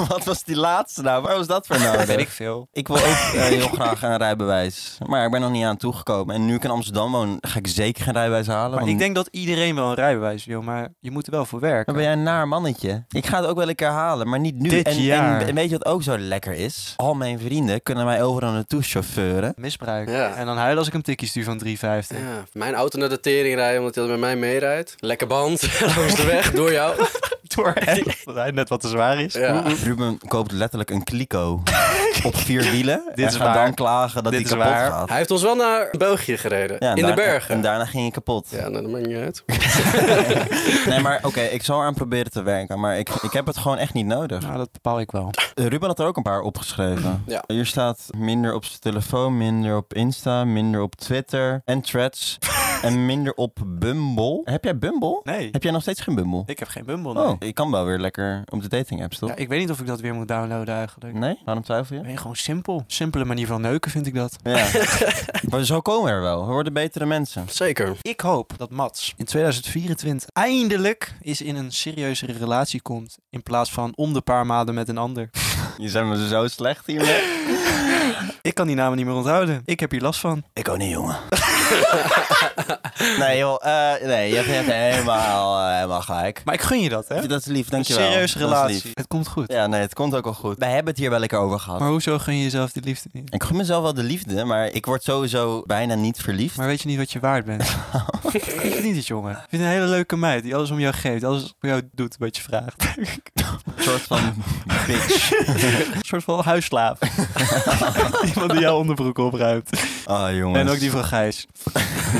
[SPEAKER 2] Wat was die laatste nou? Waar was dat voor
[SPEAKER 1] [laughs]
[SPEAKER 2] nou?
[SPEAKER 1] veel.
[SPEAKER 2] Ik wil ook eh, heel graag een rijbewijs. Maar ik ben nog niet aan toegekomen. En nu ik in Amsterdam woon, ga ik zeker geen rijbewijs halen.
[SPEAKER 1] Maar
[SPEAKER 2] want-
[SPEAKER 1] ik denk dat iedereen wel een rijbewijs wil, maar je moet er wel voor werken.
[SPEAKER 2] Maar ben jij een naar mannetje? Ik ga het ook wel een keer halen, maar niet nu.
[SPEAKER 1] Dit
[SPEAKER 2] en,
[SPEAKER 1] jaar.
[SPEAKER 2] en weet je wat ook zo lekker is? Al mijn vrienden kunnen mij overal naartoe chauffeuren.
[SPEAKER 1] Misbruik.
[SPEAKER 3] Ja.
[SPEAKER 1] En dan huilen als ik hem tikkie stuur van 3,50.
[SPEAKER 3] Ja, mijn auto naar de tering rijden, omdat hij met mij meerijdt. Lekker band, [laughs] langs de weg, door
[SPEAKER 1] [laughs]
[SPEAKER 3] jou.
[SPEAKER 1] Door Dat hij net wat te zwaar is.
[SPEAKER 3] Ja.
[SPEAKER 2] Ruben koopt letterlijk een
[SPEAKER 1] [laughs]
[SPEAKER 2] kliko op vier wielen.
[SPEAKER 1] Dit
[SPEAKER 2] en
[SPEAKER 1] is
[SPEAKER 2] gaat
[SPEAKER 1] waar.
[SPEAKER 2] dan klagen dat
[SPEAKER 1] Dit
[SPEAKER 2] die
[SPEAKER 1] is
[SPEAKER 2] kapot
[SPEAKER 1] waar.
[SPEAKER 2] gaat.
[SPEAKER 3] Hij heeft ons wel naar België gereden,
[SPEAKER 2] Ja, en
[SPEAKER 3] in de
[SPEAKER 2] daar-
[SPEAKER 3] bergen.
[SPEAKER 2] En daarna ging je kapot.
[SPEAKER 3] Ja, nou, dat maakt niet uit.
[SPEAKER 2] [laughs] Nee, maar oké, ik zal aan proberen te werken, maar ik, ik heb het gewoon echt niet nodig.
[SPEAKER 1] Nou, dat bepaal ik wel.
[SPEAKER 2] Eh, Ruben had er ook een paar opgeschreven.
[SPEAKER 3] Ja.
[SPEAKER 2] Hier
[SPEAKER 1] [laughs]
[SPEAKER 2] staat minder op zijn telefoon, minder op Insta, minder op Twitter en threads. En minder op Bumble. Heb jij Bumble?
[SPEAKER 1] Nee,
[SPEAKER 2] Heb jij nog steeds geen Bumble?
[SPEAKER 1] ik heb geen Bumble. nee.
[SPEAKER 2] Oh, je kan wel weer lekker op de dating apps, toch?
[SPEAKER 1] Ja, ik weet niet of ik dat weer moet downloaden eigenlijk.
[SPEAKER 2] Nee? Waarom twijfel je?
[SPEAKER 1] Nee, gewoon simpel. Simpele manier van neuken vind ik dat.
[SPEAKER 2] Ja. maar zo komen we er wel. We worden betere mensen.
[SPEAKER 3] Zeker.
[SPEAKER 1] Ik hoop dat Mats in 2024 eindelijk eens in een serieuzere relatie komt. In plaats van om de paar maanden met een ander.
[SPEAKER 2] Je zijn we zo slecht hiermee.
[SPEAKER 1] Ik kan die namen niet meer onthouden. Ik heb hier last van.
[SPEAKER 2] Ik ook niet, jongen. [laughs] nee, joh. eh, nee, je hebt, je hebt helemaal, eh, helemaal gelijk.
[SPEAKER 1] Maar ik gun je dat, hè?
[SPEAKER 2] Dat is lief,
[SPEAKER 1] Een
[SPEAKER 2] dankjewel.
[SPEAKER 1] serieuze
[SPEAKER 2] Dat is
[SPEAKER 1] relatie.
[SPEAKER 2] lief.
[SPEAKER 1] Het komt goed.
[SPEAKER 2] Ja, nee, het komt ook wel goed. Wij hebben het hier wel lekker over gehad.
[SPEAKER 1] Maar hoezo gun je jezelf die liefde niet?
[SPEAKER 2] Ik gun mezelf wel de liefde, maar ik word sowieso bijna niet verliefd.
[SPEAKER 1] Maar weet je niet wat je waard
[SPEAKER 2] [laughs]
[SPEAKER 1] bent? Weet je niet het, jongen. Ik vind een hele leuke meid die alles om jou geeft. Alles voor jou doet wat je vraagt. [laughs]
[SPEAKER 2] Een soort van bitch.
[SPEAKER 1] een soort van
[SPEAKER 2] [laughs]
[SPEAKER 1] huisslaaf. Iemand die jouw onderbroek opruimt.
[SPEAKER 2] Ah, jongens.
[SPEAKER 1] En ook die van Gijs.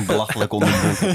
[SPEAKER 2] belachelijk onderbroek.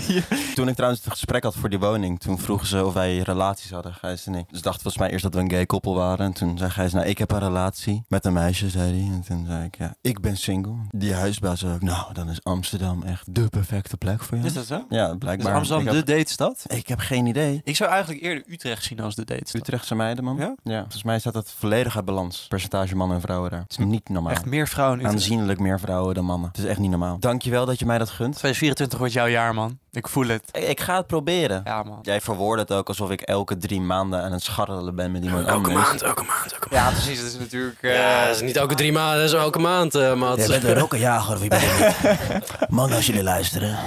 [SPEAKER 2] Toen ik trouwens het gesprek had voor die woning, toen vroegen ze of wij relaties hadden, Gijs en ik. Ze dachten volgens mij eerst dat we een gay koppel waren. En toen zei Gijs, nou, ik heb een relatie met een meisje, zei hij. En toen zei ik, ja, ik ben single. Die huisbaas zei ook, nou, dan is Amsterdam echt de perfecte plek voor jou.
[SPEAKER 1] dat zo?
[SPEAKER 2] Ja, blijkbaar.
[SPEAKER 1] is Amsterdam
[SPEAKER 2] ik,
[SPEAKER 1] de datestad?
[SPEAKER 2] heb, ik heb geen idee.
[SPEAKER 1] Ik zou eigenlijk eerder Utrecht zien als de datestad.
[SPEAKER 2] Utrechtse meiden, man.
[SPEAKER 1] Ja?
[SPEAKER 2] Volgens mij staat dat volledig uit balans. Percentage mannen en vrouwen daar. Het is niet normaal.
[SPEAKER 1] Echt meer vrouwen in Utrecht.
[SPEAKER 2] Aanzienlijk meer vrouwen dan mannen. Het is echt niet normaal. Dankjewel dat je mij dat gunt.
[SPEAKER 1] 2024 wordt jouw jaar, man. Ik voel het.
[SPEAKER 2] Ik, ik ga het proberen.
[SPEAKER 1] Ja, man.
[SPEAKER 2] Jij verwoordt het ook alsof ik elke drie maanden aan het scharrelen ben met iemand
[SPEAKER 3] Elke
[SPEAKER 2] anders.
[SPEAKER 3] maand, elke maand, elke maand.
[SPEAKER 1] Ja, precies. Dat is natuurlijk... eh,
[SPEAKER 3] Ja, dat is niet elke drie maanden, dat is elke maand, eh maat.
[SPEAKER 2] Jij bent een rokkenjager of je bent het niet. Man, als jullie luisteren.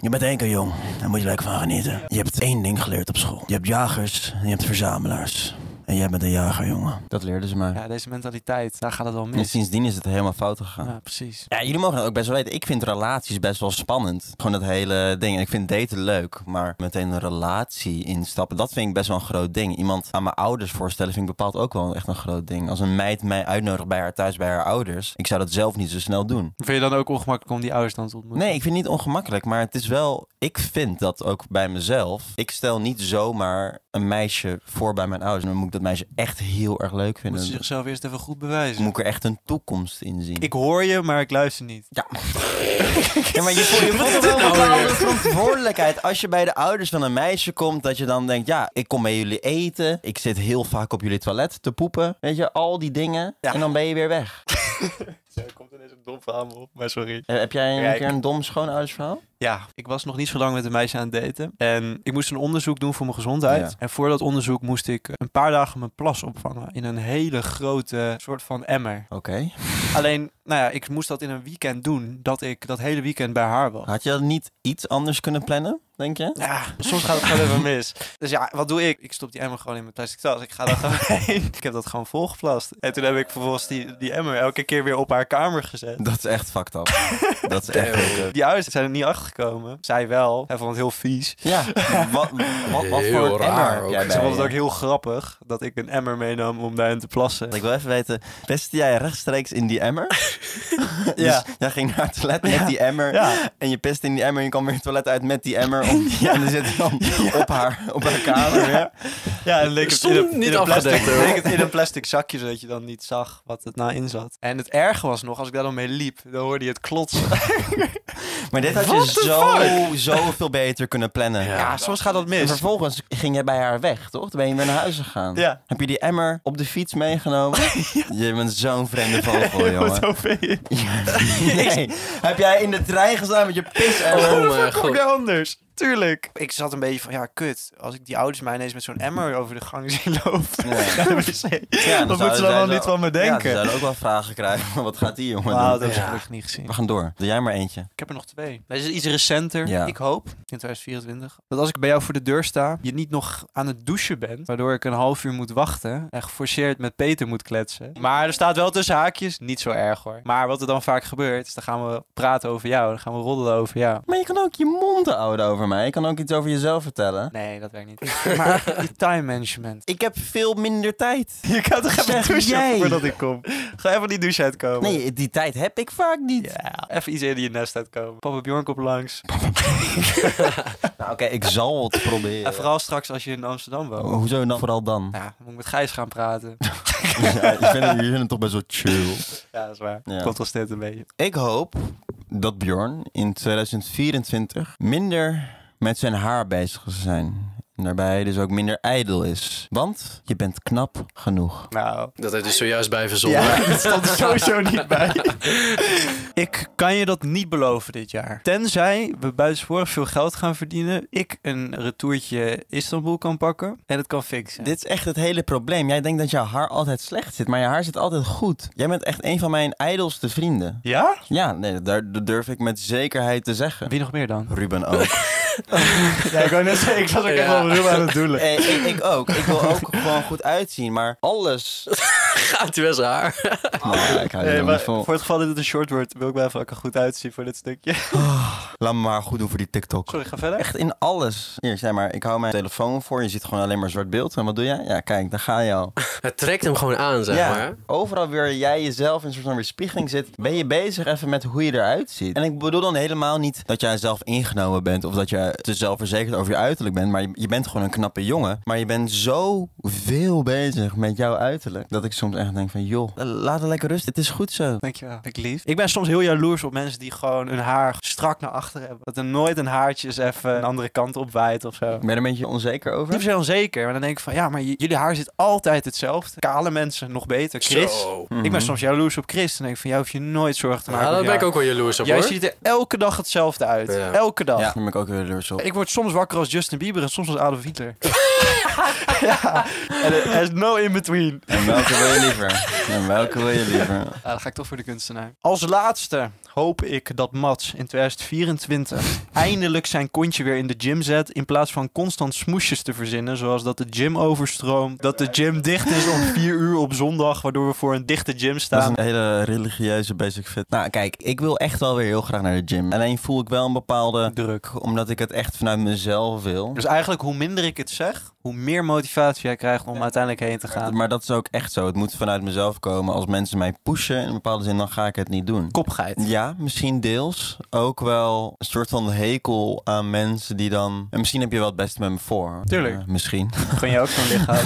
[SPEAKER 2] Je bent één keer jong. Daar moet je lekker van genieten. Je hebt één ding geleerd op school. Je hebt jagers en je hebt verzamelaars. En jij bent een jager, jongen. Dat leerden ze mij.
[SPEAKER 1] ja, deze mentaliteit. Daar gaat het wel
[SPEAKER 2] En
[SPEAKER 1] mis.
[SPEAKER 2] sindsdien is het helemaal fout gegaan.
[SPEAKER 1] Ja, precies.
[SPEAKER 2] Ja, jullie mogen dat ook best wel weten. Ik vind relaties best wel spannend. Gewoon dat hele ding. En ik vind daten leuk, maar meteen een relatie instappen, dat vind ik best wel een groot ding. Iemand aan mijn ouders voorstellen vind ik bepaald ook wel echt een groot ding. Als een meid mij uitnodigt bij haar thuis, bij haar ouders, ik zou dat zelf niet zo snel doen.
[SPEAKER 1] Vind je dan ook ongemakkelijk om die ouders dan te ontmoeten?
[SPEAKER 2] Nee, ik vind het niet ongemakkelijk, maar het is wel... Ik vind dat ook bij mezelf. Ik stel niet zomaar een meisje voor bij mijn ouders. Dan moet ik dat meisje echt heel erg leuk
[SPEAKER 1] Moet
[SPEAKER 2] vinden.
[SPEAKER 1] ze zichzelf eerst even goed bewijzen.
[SPEAKER 2] Moet ik er echt een toekomst in zien.
[SPEAKER 1] Ik hoor je, maar ik luister niet.
[SPEAKER 2] Ja, maar je voelt
[SPEAKER 1] [laughs]
[SPEAKER 2] je voelt
[SPEAKER 1] dit
[SPEAKER 2] wel een
[SPEAKER 1] nou
[SPEAKER 2] bepaalde
[SPEAKER 1] weer?
[SPEAKER 2] verantwoordelijkheid. Als je bij de ouders van een meisje komt, dat je dan denkt... ja, ik kom bij jullie eten. Ik zit heel vaak op jullie toilet te poepen. Weet je, al die dingen. En dan ben je weer weg.
[SPEAKER 1] Er komt ineens een dom verhaal op, maar sorry.
[SPEAKER 2] Eh, Heb jij een
[SPEAKER 1] Kijk.
[SPEAKER 2] keer een dom schoonoudersverhaal?
[SPEAKER 1] Ja, ik was nog niet zo lang met een meisje aan het daten. En ik moest een onderzoek doen voor mijn gezondheid.
[SPEAKER 2] Ja.
[SPEAKER 1] En voor dat onderzoek moest ik een paar dagen mijn plas opvangen. In een hele grote soort van emmer.
[SPEAKER 2] Oké.
[SPEAKER 1] Alleen, nou ja, ik moest dat in een weekend doen. Dat ik dat hele weekend bij haar was.
[SPEAKER 2] Had je dat niet iets anders kunnen plannen, denk je?
[SPEAKER 1] Ja, soms gaat het gewoon even mis. Dus ja, wat doe ik? Ik stop die emmer gewoon in mijn plastic tas. Ik ga daar [laughs] gewoon heen. Ik heb dat gewoon volgeplast. En toen heb ik vervolgens die, die emmer elke keer weer op haar kamer gezet.
[SPEAKER 2] Dat is echt fucked [laughs] up. dat is echt fucked up.
[SPEAKER 1] Die ouders zijn er niet achter gekomen. Zij wel. Hij vond het heel vies.
[SPEAKER 2] Ja, wat, wat, wat
[SPEAKER 3] Heel
[SPEAKER 2] voor
[SPEAKER 3] raar
[SPEAKER 2] emmer heb
[SPEAKER 3] ook.
[SPEAKER 2] jij
[SPEAKER 3] Ze
[SPEAKER 1] Ze
[SPEAKER 2] bij
[SPEAKER 1] vond het
[SPEAKER 2] je?
[SPEAKER 1] ook heel grappig dat ik een emmer meenam om daarin te plassen.
[SPEAKER 2] Ik wil even weten, pestte jij rechtstreeks in die
[SPEAKER 1] [laughs]
[SPEAKER 2] emmer? [laughs] ja. Dus jij ging naar het toilet met die emmer.
[SPEAKER 1] Ja.
[SPEAKER 2] En je pest in die emmer en je kwam weer het toilet uit met die emmer. Om, En dan zit hij
[SPEAKER 1] [laughs]
[SPEAKER 2] dan op, haar, op haar kamer. Ja.
[SPEAKER 1] Oh, Ja, en leek het in
[SPEAKER 3] Stond
[SPEAKER 1] een,
[SPEAKER 3] niet
[SPEAKER 1] in een plastic,
[SPEAKER 3] afgedekt, hoor.
[SPEAKER 1] leek het in een plastic zakje, zodat je dan niet zag wat het nou in zat. En het erge was nog, als ik daar dan mee liep, dan hoorde je het klotsen.
[SPEAKER 2] Maar dit had
[SPEAKER 1] What
[SPEAKER 2] je
[SPEAKER 1] the
[SPEAKER 2] zo, zo veel beter kunnen plannen.
[SPEAKER 3] Ja.
[SPEAKER 1] Ja, soms gaat dat
[SPEAKER 2] En
[SPEAKER 1] mis.
[SPEAKER 2] vervolgens ging jij bij haar weg, toch? Toen ben je weer naar huis gegaan.
[SPEAKER 1] Ja.
[SPEAKER 2] Heb je die emmer op de fiets
[SPEAKER 1] [laughs]
[SPEAKER 2] meegenomen? Je bent zo'n vreemde vogel, jongen.
[SPEAKER 1] Zo vind [laughs] je.
[SPEAKER 2] Nee. Heb jij in de trein gestaan met je pis-emmer?
[SPEAKER 3] Oh mijn
[SPEAKER 1] Kom ik
[SPEAKER 3] god.
[SPEAKER 1] daar anders? Tuurlijk. Ik zat een beetje van, ja, kut. Als ik die ouders mij ineens met zo'n emmer over de gang [laughs] zien lopen
[SPEAKER 2] Ja.
[SPEAKER 1] naar de wc,
[SPEAKER 2] Ja,
[SPEAKER 1] dan,
[SPEAKER 2] zouden
[SPEAKER 1] moeten ze
[SPEAKER 2] zij
[SPEAKER 1] dan wel
[SPEAKER 2] zo-
[SPEAKER 1] niet van me
[SPEAKER 2] Ja, ze
[SPEAKER 1] denken.
[SPEAKER 2] zouden ook wel vragen krijgen. [laughs] van, Wat gaat die jongen doen?
[SPEAKER 1] Wauw, dat heb ik
[SPEAKER 3] Ja.
[SPEAKER 1] gelukkig niet gezien.
[SPEAKER 2] We gaan door. Doe jij maar eentje.
[SPEAKER 1] Ik heb er nog twee. Deze is iets recenter.
[SPEAKER 2] Ja.
[SPEAKER 1] Ik hoop in 2024. Dat als ik bij jou voor de deur sta, je niet nog aan het douchen bent. Waardoor ik een half uur moet wachten. En geforceerd met Peter moet kletsen. Maar er staat wel tussen haakjes. Niet zo erg hoor. Maar wat er dan vaak gebeurt, is dan gaan we praten over jou. Dan gaan we roddelen over jou.
[SPEAKER 2] Maar je kan ook je mond houden over mij. Je kan ook iets over jezelf vertellen.
[SPEAKER 1] Nee, dat werkt niet. [laughs] maar die time management.
[SPEAKER 2] Ik heb veel minder tijd.
[SPEAKER 1] Je kan toch even
[SPEAKER 2] Zeg
[SPEAKER 1] douchen
[SPEAKER 2] jij.
[SPEAKER 1] voordat ik kom? Ga even die douche uitkomen.
[SPEAKER 2] [laughs] Nee, die tijd heb ik vaak niet.
[SPEAKER 1] Ja, even iets eerder je nest uitkomen. Papa Bjorn komt langs.
[SPEAKER 2] Nou, oké, ik zal [laughs] het proberen.
[SPEAKER 1] En vooral straks als je in Amsterdam woont.
[SPEAKER 2] Oh, hoezo dan? Vooral [laughs] dan.
[SPEAKER 1] Ja, dan moet ik met Gijs gaan praten.
[SPEAKER 2] Ja, ik vind jullie zijn toch best wel chill.
[SPEAKER 1] Ja, dat is waar.
[SPEAKER 2] Ja.
[SPEAKER 1] Contrasteert een beetje.
[SPEAKER 2] Ik hoop dat Bjorn in 2024 minder met zijn haar bezig zal zijn. En daarbij dus ook minder ijdel is. Want je bent knap genoeg.
[SPEAKER 1] Nou,
[SPEAKER 3] Dat hij dus zojuist
[SPEAKER 1] [laughs]
[SPEAKER 3] bij verzonnen.
[SPEAKER 2] dat stond er sowieso niet bij.
[SPEAKER 1] ik kan je dat niet beloven dit jaar. Tenzij we buitensporig veel geld gaan verdienen, ik een retourtje Istanbul kan pakken en het kan fixen.
[SPEAKER 2] Dit is echt het hele probleem. Jij denkt dat jouw haar altijd slecht zit, maar je haar zit altijd goed. Jij bent echt een van mijn ijdelste vrienden.
[SPEAKER 1] Ja?
[SPEAKER 2] Ja, nee, daar dat durf ik met zekerheid te zeggen.
[SPEAKER 1] Wie nog meer dan?
[SPEAKER 2] Ruben ook.
[SPEAKER 1] [laughs] Ja, ik wou net zeggen, ik zat ook
[SPEAKER 3] echt wel
[SPEAKER 1] heel aan het [laughs] doelen.
[SPEAKER 2] Eh, ik, ik ook. Ik wil
[SPEAKER 1] [laughs]
[SPEAKER 2] ook gewoon goed uitzien, maar alles.
[SPEAKER 3] Gaat [laughs] hij wel zijn haar.
[SPEAKER 2] Nou, ik hou
[SPEAKER 1] Oh. Nee,
[SPEAKER 2] er
[SPEAKER 1] maar
[SPEAKER 2] niet vol.
[SPEAKER 1] voor het geval dat het een short wordt, wil ik wel even ook goed uitzien voor dit stukje.
[SPEAKER 2] Laat me maar goed doen voor die TikTok.
[SPEAKER 1] [laughs] Sorry, ga verder.
[SPEAKER 2] Echt in alles. Hier, zeg maar, ik hou mijn telefoon voor. Je ziet gewoon alleen maar zwart beeld. En wat doe jij? Ja, kijk, daar ga je al.
[SPEAKER 3] Het trekt hem gewoon aan, zeg
[SPEAKER 2] ja,
[SPEAKER 3] maar.
[SPEAKER 2] overal weer jij jezelf in een soort van weerspiegeling zit. Ben je bezig even met hoe je eruit ziet? En ik bedoel dan helemaal niet dat jij zelf ingenomen bent. Of dat je te zelfverzekerd over je uiterlijk bent. Maar je, je bent gewoon een knappe jongen. Maar je bent zo veel bezig met jouw uiterlijk. Dat ik soms echt denk van, joh, laat het lekker rust. Het is goed zo.
[SPEAKER 1] Dankjewel. Ik lief. Ik ben soms heel jaloers op mensen die gewoon hun haar strak naar achteren hebben. Dat er nooit een haartje eens even een andere kant op waait of zo.
[SPEAKER 2] Ben je er een beetje onzeker
[SPEAKER 1] Ik ben
[SPEAKER 2] over?
[SPEAKER 1] zo onzeker, maar dan denk ik van ja, maar j- jullie haar zit altijd hetzelfde. Kale mensen nog beter. Chris.
[SPEAKER 3] Zo.
[SPEAKER 2] Mhm.
[SPEAKER 3] Mhm.
[SPEAKER 1] Ik ben soms jaloers op Chris. Dan denk ik van jou hoef je nooit zorgen te maken.
[SPEAKER 3] Ja,
[SPEAKER 1] om
[SPEAKER 3] daar
[SPEAKER 1] je
[SPEAKER 3] ben ik
[SPEAKER 1] haar.
[SPEAKER 3] ook wel jaloers op,
[SPEAKER 1] Jij
[SPEAKER 3] hoor.
[SPEAKER 1] ziet er elke dag hetzelfde uit.
[SPEAKER 3] Ja.
[SPEAKER 1] Elke dag.
[SPEAKER 2] Ja, daar ben ik ook weer jaloers op.
[SPEAKER 1] Ik word soms wakker als Justin Bieber en soms als Adolf
[SPEAKER 3] [laughs]
[SPEAKER 1] Hitler. [laughs] ja. En er er is no in between.
[SPEAKER 2] En welke wil je liever? En welke wil je liever?
[SPEAKER 1] Ja, Eh, dan ga ik toch voor de kunstenaar. Als laatste hoop ik dat Mats in [laughs] 2024 eindelijk zijn kontje weer in de gym zet. In plaats van constant smoesjes te verzinnen. Zoals dat de gym overstroomt. Dat de gym dicht is om 4 uur op zondag. Waardoor we voor een dichte gym
[SPEAKER 2] Dat is
[SPEAKER 1] staan.
[SPEAKER 2] een hele religieuze basic fit. Nou, kijk, ik wil echt wel weer heel graag naar de gym. Alleen voel ik wel een bepaalde
[SPEAKER 1] Druk.
[SPEAKER 2] omdat ik het echt vanuit mezelf wil.
[SPEAKER 1] Dus eigenlijk hoe minder ik het zeg, hoe meer motivatie jij krijgt om uiteindelijk heen te gaan.
[SPEAKER 2] Maar dat is ook echt zo. Het moet vanuit mezelf komen. Als mensen mij pushen in een bepaalde zin, dan ga ik het niet doen.
[SPEAKER 1] Kopgeit.
[SPEAKER 2] Ja, misschien deels. Ook wel een soort van hekel aan mensen die dan... En misschien heb je wel het beste met me voor.
[SPEAKER 1] Tuurlijk.
[SPEAKER 2] Eh, misschien.
[SPEAKER 1] Gun je ook zo'n lichaam?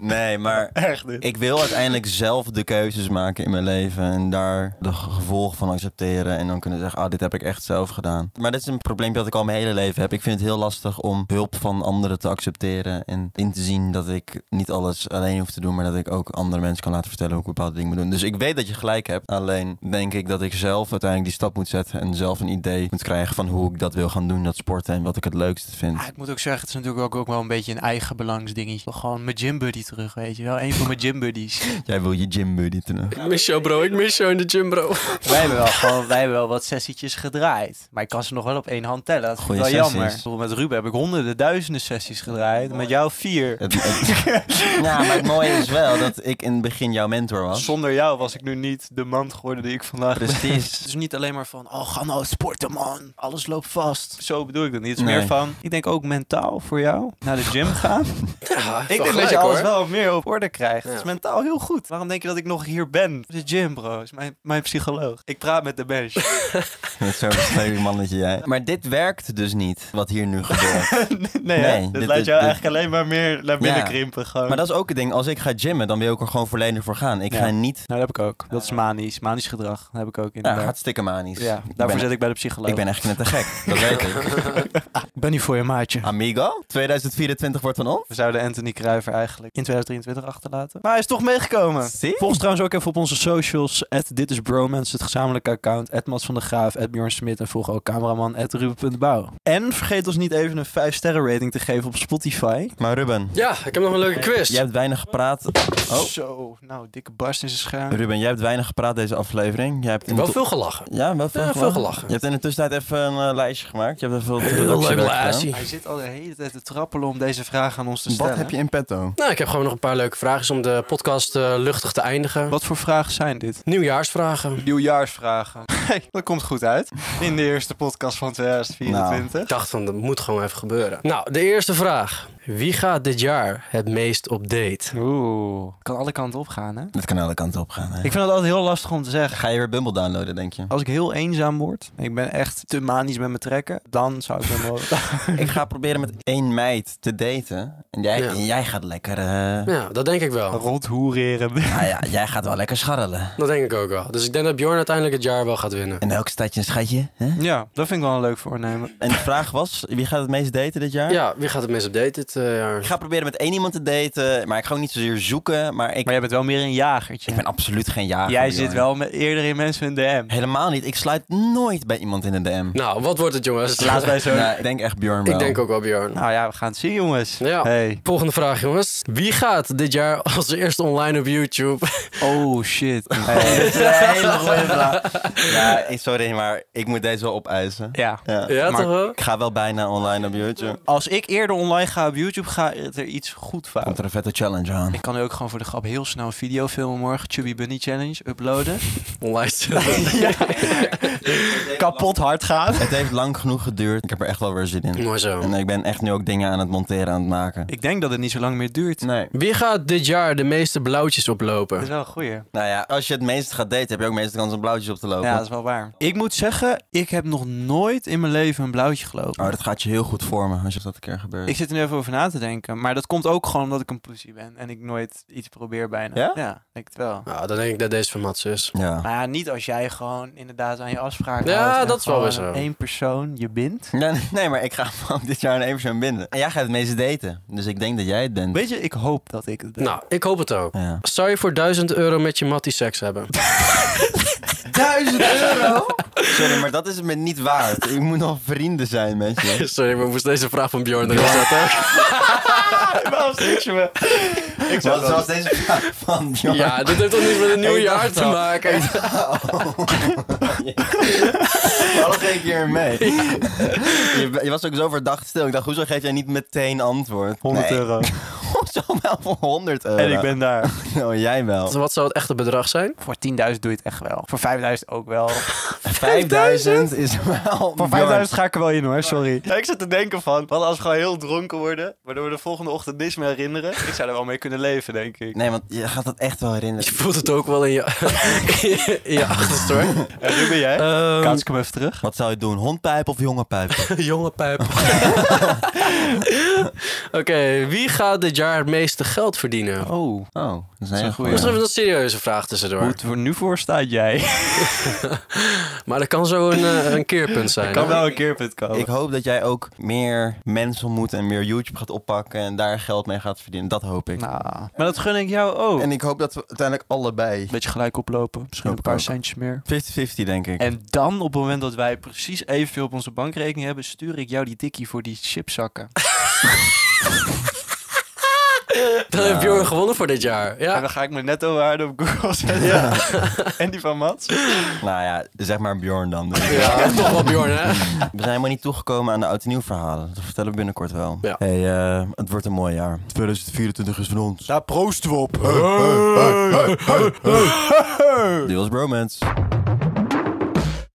[SPEAKER 2] Nee, maar
[SPEAKER 1] [laughs] Echt dit.
[SPEAKER 2] Ik wil uiteindelijk zelf de keuzes maken in mijn leven en daar de ge- gevolgen van accepteren en dan kunnen zeggen, ah, dit heb ik echt zelf gedaan. Maar dit is een probleem dat ik al mijn hele leven heb. Ik vind het heel lastig om hulp van anderen te accepteren en in te zien dat ik niet alles alleen hoef te doen, maar dat ik ook andere mensen kan laten vertellen hoe ik bepaalde dingen moet doen. Dus ik weet dat je gelijk hebt, alleen denk ik dat ik zelf uiteindelijk die stap moet zetten en zelf een idee moet krijgen van hoe ik dat wil gaan doen, dat sporten en wat ik het leukste vind.
[SPEAKER 1] Ah, ik moet ook zeggen, het is natuurlijk ook, ook wel een beetje een eigen belangsdingetje. Gewoon mijn gymbuddy terug, weet je wel. Een van mijn gymbuddies.
[SPEAKER 2] Jij wil je eh? gym buddy terug.
[SPEAKER 3] Ik mis jou, bro. Ik mis jou in de gym, bro.
[SPEAKER 1] wij, hebben wel gewoon, wij hebben wel wat sessietjes gedraaid. Maar ik kan ze nog wel op één hand tellen. Dat is wel
[SPEAKER 2] Goeie sessies.
[SPEAKER 1] jammer. Ik bedoel, Met Ruben heb ik honderden, duizenden sessies gedraaid. Met jou vier.
[SPEAKER 2] Het, het- ja, maar het mooie is wel dat ik in het begin jouw mentor was. [laughs]
[SPEAKER 1] Zonder jou was ik nu niet de man geworden die ik vandaag ben. Het [laughs]
[SPEAKER 2] Precies.
[SPEAKER 1] is niet alleen maar van, oh, ga nou sporten, man. Alles loopt vast. Zo bedoel ik dat niet. Het is
[SPEAKER 2] Nee.
[SPEAKER 1] meer van, ik denk ook mentaal voor jou naar de
[SPEAKER 2] [laughs]
[SPEAKER 1] gym gaan.
[SPEAKER 3] [laughs] Ja,
[SPEAKER 1] ik denk dat je
[SPEAKER 3] gelijk,
[SPEAKER 1] alles
[SPEAKER 3] hoor.
[SPEAKER 1] wel meer op orde krijgt. Het is
[SPEAKER 3] Ja.
[SPEAKER 1] mentaal heel goed. Waarom denk je dat ik nog hier ben? De gym, bro. Is mijn, mijn psycholoog. Ik praat met de bench.
[SPEAKER 2] Met zo'n vervelend mannetje jij. Maar dit werkt dus niet, wat hier nu
[SPEAKER 3] [laughs]
[SPEAKER 2] gebeurt.
[SPEAKER 1] [laughs] nee, hè?
[SPEAKER 2] Nee,
[SPEAKER 1] dit,
[SPEAKER 2] dit-
[SPEAKER 1] laat
[SPEAKER 2] dit-
[SPEAKER 1] jou
[SPEAKER 2] dit-
[SPEAKER 1] eigenlijk alleen maar meer naar binnen
[SPEAKER 2] Ja.
[SPEAKER 1] krimpen. Gewoon.
[SPEAKER 2] Maar dat is ook het ding, als ik ga gymmen, dan wil ik er gewoon volledig voor gaan. Ik
[SPEAKER 1] Ja.
[SPEAKER 2] ga niet...
[SPEAKER 1] Nou, dat heb ik ook. Dat is manisch. Manisch gedrag. Dat heb ik ook
[SPEAKER 2] Ah. Ja,
[SPEAKER 1] inderdaad.
[SPEAKER 2] hartstikke manisch.
[SPEAKER 1] Ja,
[SPEAKER 2] Ik
[SPEAKER 1] daarvoor
[SPEAKER 2] ben-
[SPEAKER 1] zit ik bij de psycholoog.
[SPEAKER 2] Ik ben echt net te gek, dat weet ik.
[SPEAKER 3] [laughs]
[SPEAKER 1] Ik ben nu voor je maatje.
[SPEAKER 2] Ah. Amigo, 2024 wordt van ons.
[SPEAKER 1] We zouden Anthony Kruiver eigenlijk in 2023 achterlaten. Maar hij is toch meegekomen.
[SPEAKER 2] Zie?
[SPEAKER 1] Volg ons trouwens ook even op onze socials. Dit is Bromance, het gezamenlijke account. At Mats van der Graaf, at Bjorn Smit. En volg ook cameraman, at Ruben.bouw. En vergeet ons niet even een 5 sterren rating te geven op Spotify.
[SPEAKER 2] Maar Ruben,
[SPEAKER 3] Ja, ik heb nog een leuke quiz.
[SPEAKER 2] jij hebt weinig gepraat. Oh,
[SPEAKER 1] Zo, nou, dikke barst in zijn scherm.
[SPEAKER 2] Ruben, jij hebt weinig gepraat deze aflevering. Jij hebt in
[SPEAKER 3] Wel
[SPEAKER 2] de-
[SPEAKER 3] veel gelachen.
[SPEAKER 2] Ja, wel veel,
[SPEAKER 3] Ja, veel
[SPEAKER 2] gelachen.
[SPEAKER 3] gelachen.
[SPEAKER 2] Je hebt in de tussentijd even een eh, lijstje gemaakt. Je hebt even veel
[SPEAKER 3] Heel leuk
[SPEAKER 2] redactiewerk gedaan.
[SPEAKER 3] lijstje.
[SPEAKER 1] Hij zit al de hele tijd te trappelen om deze vraag aan ons te stellen.
[SPEAKER 2] Wat heb je in petto?
[SPEAKER 3] Nou, ik heb gewoon nog een paar leuke vragen om de podcast eh, luchtig te eindigen.
[SPEAKER 1] Wat voor vragen zijn dit?
[SPEAKER 3] Nieuwjaarsvragen.
[SPEAKER 1] Nieuwjaarsvragen. [laughs] Hey, dat komt goed uit. In de eerste podcast van 2024.
[SPEAKER 3] Ik dacht van, dat moet gewoon even gebeuren. Nou, de eerste vraag. Wie gaat dit jaar het meest op date?
[SPEAKER 1] Nou. Oeh. Kan alle kanten opgaan, hè?
[SPEAKER 2] Dat kan alle kanten op gaan.
[SPEAKER 1] Ik vind het altijd heel lastig om te zeggen.
[SPEAKER 2] Ga je weer Bumble downloaden, denk je?
[SPEAKER 1] Als ik heel eenzaam word, ik ben echt te manisch met me trekken, dan zou ik dan wel...
[SPEAKER 2] [laughs]
[SPEAKER 1] [laughs]
[SPEAKER 2] ik ga proberen met één meid te daten. En jij,
[SPEAKER 3] Ja.
[SPEAKER 2] en jij gaat lekker... eh, [laughs]
[SPEAKER 3] Ja, dat denk ik
[SPEAKER 1] Oh.
[SPEAKER 3] wel.
[SPEAKER 1] rondhoereren. [laughs]
[SPEAKER 2] Nou ja, jij gaat wel lekker scharrelen.
[SPEAKER 3] Dat denk ik ook wel. Dus ik denk dat Bjorn uiteindelijk het jaar wel gaat winnen.
[SPEAKER 2] In elk stadje een schatje. Hè?
[SPEAKER 1] Ja, dat vind ik wel een leuk voornemen.
[SPEAKER 2] En de vraag was, wie gaat het meest daten dit jaar?
[SPEAKER 3] Ja, wie gaat het meest op date dit eh,
[SPEAKER 2] Ik
[SPEAKER 3] jaar?
[SPEAKER 2] ga proberen met één iemand te daten, maar ik ga ook niet zozeer zoeken. Maar ik,
[SPEAKER 1] Maar jij bent wel meer een jagertje.
[SPEAKER 2] ik ben absoluut geen jager.
[SPEAKER 1] jij
[SPEAKER 2] joh.
[SPEAKER 1] zit wel met, eerder in mensen in DM.
[SPEAKER 2] Helemaal niet. Ik sluit nooit bij iemand in de DM.
[SPEAKER 3] Nou, wat wordt het jongens?
[SPEAKER 1] Laat
[SPEAKER 3] [laughs]
[SPEAKER 1] wij zo...
[SPEAKER 2] Nou, ik denk echt Bjorn wel.
[SPEAKER 3] Ik denk ook wel Bjorn.
[SPEAKER 1] Nou ja, we gaan het zien, jongens.
[SPEAKER 3] Ja.
[SPEAKER 1] Hey.
[SPEAKER 3] Volgende vraag jongens. Wie gaat dit jaar als eerste online op YouTube? [laughs]
[SPEAKER 1] Oh, shit.
[SPEAKER 2] [laughs] Hey,
[SPEAKER 1] Hey.
[SPEAKER 2] dit is een hele goede vraag. Ja, ik- sorry, maar ik moet deze wel opeisen.
[SPEAKER 1] [laughs] ja.
[SPEAKER 2] Ja.
[SPEAKER 3] ja
[SPEAKER 1] Maar-
[SPEAKER 3] toch wel?
[SPEAKER 2] Ik ga wel bijna online op YouTube.
[SPEAKER 1] Als ik eerder online ga op YouTube, gaat er iets goed fout.
[SPEAKER 2] Komt er een vette challenge aan.
[SPEAKER 1] Ik kan nu ook gewoon voor de grap heel snel een video filmen morgen. Chubby Bunny Challenge uploaden.
[SPEAKER 3] [laughs] Online zetten.
[SPEAKER 1] [laughs] Kapot hard gaan.
[SPEAKER 2] Het heeft lang genoeg geduurd. Ik heb er echt wel weer zin in.
[SPEAKER 3] Mooi zo.
[SPEAKER 2] En ik ben echt nu ook dingen aan het monteren, aan het maken.
[SPEAKER 1] Ik denk dat het niet zo lang meer duurt.
[SPEAKER 2] Nee.
[SPEAKER 3] Wie gaat dit jaar de meeste blauwtjes oplopen?
[SPEAKER 1] Dat is wel een goeie.
[SPEAKER 2] Nou ja, als je het meest gaat daten, heb je ook meestal kans om blauwtjes op te lopen.
[SPEAKER 1] Ja, dat is wel waar. Ik moet zeggen, ik heb nog nooit in mijn leven een blauwtje gelopen.
[SPEAKER 2] Oh, dat gaat je heel goed vormen als je dat een keer gebeurt.
[SPEAKER 1] Ik zit er nu even over na te denken. Maar dat komt ook gewoon omdat ik een pussy ben. En ik nooit iets probeer bijna.
[SPEAKER 2] Ja?
[SPEAKER 1] denk het wel.
[SPEAKER 3] Nou, dan denk ik dat deze van Mats is.
[SPEAKER 2] Ja.
[SPEAKER 1] Maar ja, niet als jij gewoon inderdaad aan je afspraak
[SPEAKER 3] Ja,
[SPEAKER 1] houdt en
[SPEAKER 3] dat is wel
[SPEAKER 1] gewoon
[SPEAKER 3] weer zo.
[SPEAKER 1] één persoon je bindt.
[SPEAKER 2] Nee, nee, maar ik ga [laughs] gewoon dit jaar een even zo'n binden. En jij gaat het meeste daten, dus ik denk dat jij het bent.
[SPEAKER 1] Weet je, ik hoop dat ik het
[SPEAKER 3] [laughs]
[SPEAKER 1] ben.
[SPEAKER 3] Nou, ik hoop het ook.
[SPEAKER 2] Ja.
[SPEAKER 3] Zou je voor 1000 euro met je mattie seks hebben?
[SPEAKER 2] Duizend
[SPEAKER 1] [laughs]
[SPEAKER 2] euro? Sorry, maar dat is me niet waard. Ik moet nog vrienden zijn met je.
[SPEAKER 3] [laughs] Sorry, maar ik moest deze vraag van Bjorn erin zetten.
[SPEAKER 2] Ik zou zoals deze vraag van Bjorn.
[SPEAKER 3] [laughs] Ja, dit heeft toch niet met een nieuw
[SPEAKER 2] Ik
[SPEAKER 3] jaar
[SPEAKER 2] dacht
[SPEAKER 3] te
[SPEAKER 2] al.
[SPEAKER 3] maken?
[SPEAKER 2] Alle geen keer mee. Je, je was ook zo verdacht stil. Ik dacht, hoezo geef jij niet meteen antwoord?
[SPEAKER 1] 100
[SPEAKER 2] Nee,
[SPEAKER 1] euro.
[SPEAKER 2] [laughs] Hoezo wel voor 100 euro?
[SPEAKER 1] En ik ben daar.
[SPEAKER 2] Nou, jij wel. [laughs]
[SPEAKER 3] Wat zou het echte bedrag zijn?
[SPEAKER 1] [laughs] Voor 10.000 doe je het echt wel. Voor 5.000 ook [laughs] wel.
[SPEAKER 2] 5000 is wel.
[SPEAKER 1] Voor 5.000
[SPEAKER 2] Bjorn.
[SPEAKER 1] ga ik er wel in hoor, sorry. ik zat te denken van, wat als we gewoon heel dronken worden, waardoor we de volgende ochtend niks meer herinneren. Ik zou er wel mee kunnen leven, denk [laughs] ik.
[SPEAKER 2] Nee, want je gaat dat echt wel herinneren.
[SPEAKER 3] Je voelt het ook wel in je, [laughs] in je achterste hoor.
[SPEAKER 1] En nu ben jij?
[SPEAKER 3] Ehm,
[SPEAKER 1] Kaats ik hem even terug.
[SPEAKER 2] Wat zou je doen? Hondpijp of jonge pijp?
[SPEAKER 3] [laughs] jonge [laughs] pijp. Oké, wie gaat dit jaar het meeste geld verdienen?
[SPEAKER 1] Oh,
[SPEAKER 2] Oh, dat is
[SPEAKER 1] een
[SPEAKER 2] een
[SPEAKER 1] goeie.
[SPEAKER 2] goede.
[SPEAKER 3] Dat is even een serieuze vraag
[SPEAKER 1] hoe
[SPEAKER 3] tussendoor.
[SPEAKER 1] het er nu voor staat [laughs] jij?
[SPEAKER 3] Maar dat kan zo een, eh, een keerpunt zijn.
[SPEAKER 1] kan
[SPEAKER 3] hè?
[SPEAKER 1] wel een keerpunt komen.
[SPEAKER 2] Ik hoop dat jij ook meer mensen ontmoet en meer YouTube gaat oppakken en daar geld mee gaat verdienen. Dat hoop ik.
[SPEAKER 1] Nou, maar dat gun ik jou ook.
[SPEAKER 2] En ik hoop dat we uiteindelijk allebei 50-50
[SPEAKER 1] Beetje gelijk oplopen, misschien
[SPEAKER 2] Hoop
[SPEAKER 1] een paar
[SPEAKER 2] ik ook.
[SPEAKER 1] centjes meer.
[SPEAKER 2] denk ik.
[SPEAKER 1] En dan, op het moment dat wij precies evenveel op onze bankrekening hebben, stuur ik jou die tikkie voor die chipzakken.
[SPEAKER 3] Dan heeft Bjorn gewonnen voor dit jaar.
[SPEAKER 1] En
[SPEAKER 3] Ja.
[SPEAKER 1] dan ga ik mijn netto waarde op Google [laughs] zetten. en die van Mats.
[SPEAKER 2] Nou ja, zeg maar Bjorn dan. dus.
[SPEAKER 3] Ja, [laughs] toch wel Bjorn, hè?
[SPEAKER 2] We zijn helemaal niet toegekomen aan de oud en nieuw verhalen. Dat vertellen we binnenkort wel.
[SPEAKER 3] Ja.
[SPEAKER 2] Hey, eh, het wordt een mooi jaar. 2024 is van ons.
[SPEAKER 1] Daar proosten we op.
[SPEAKER 2] Dit was Bromance.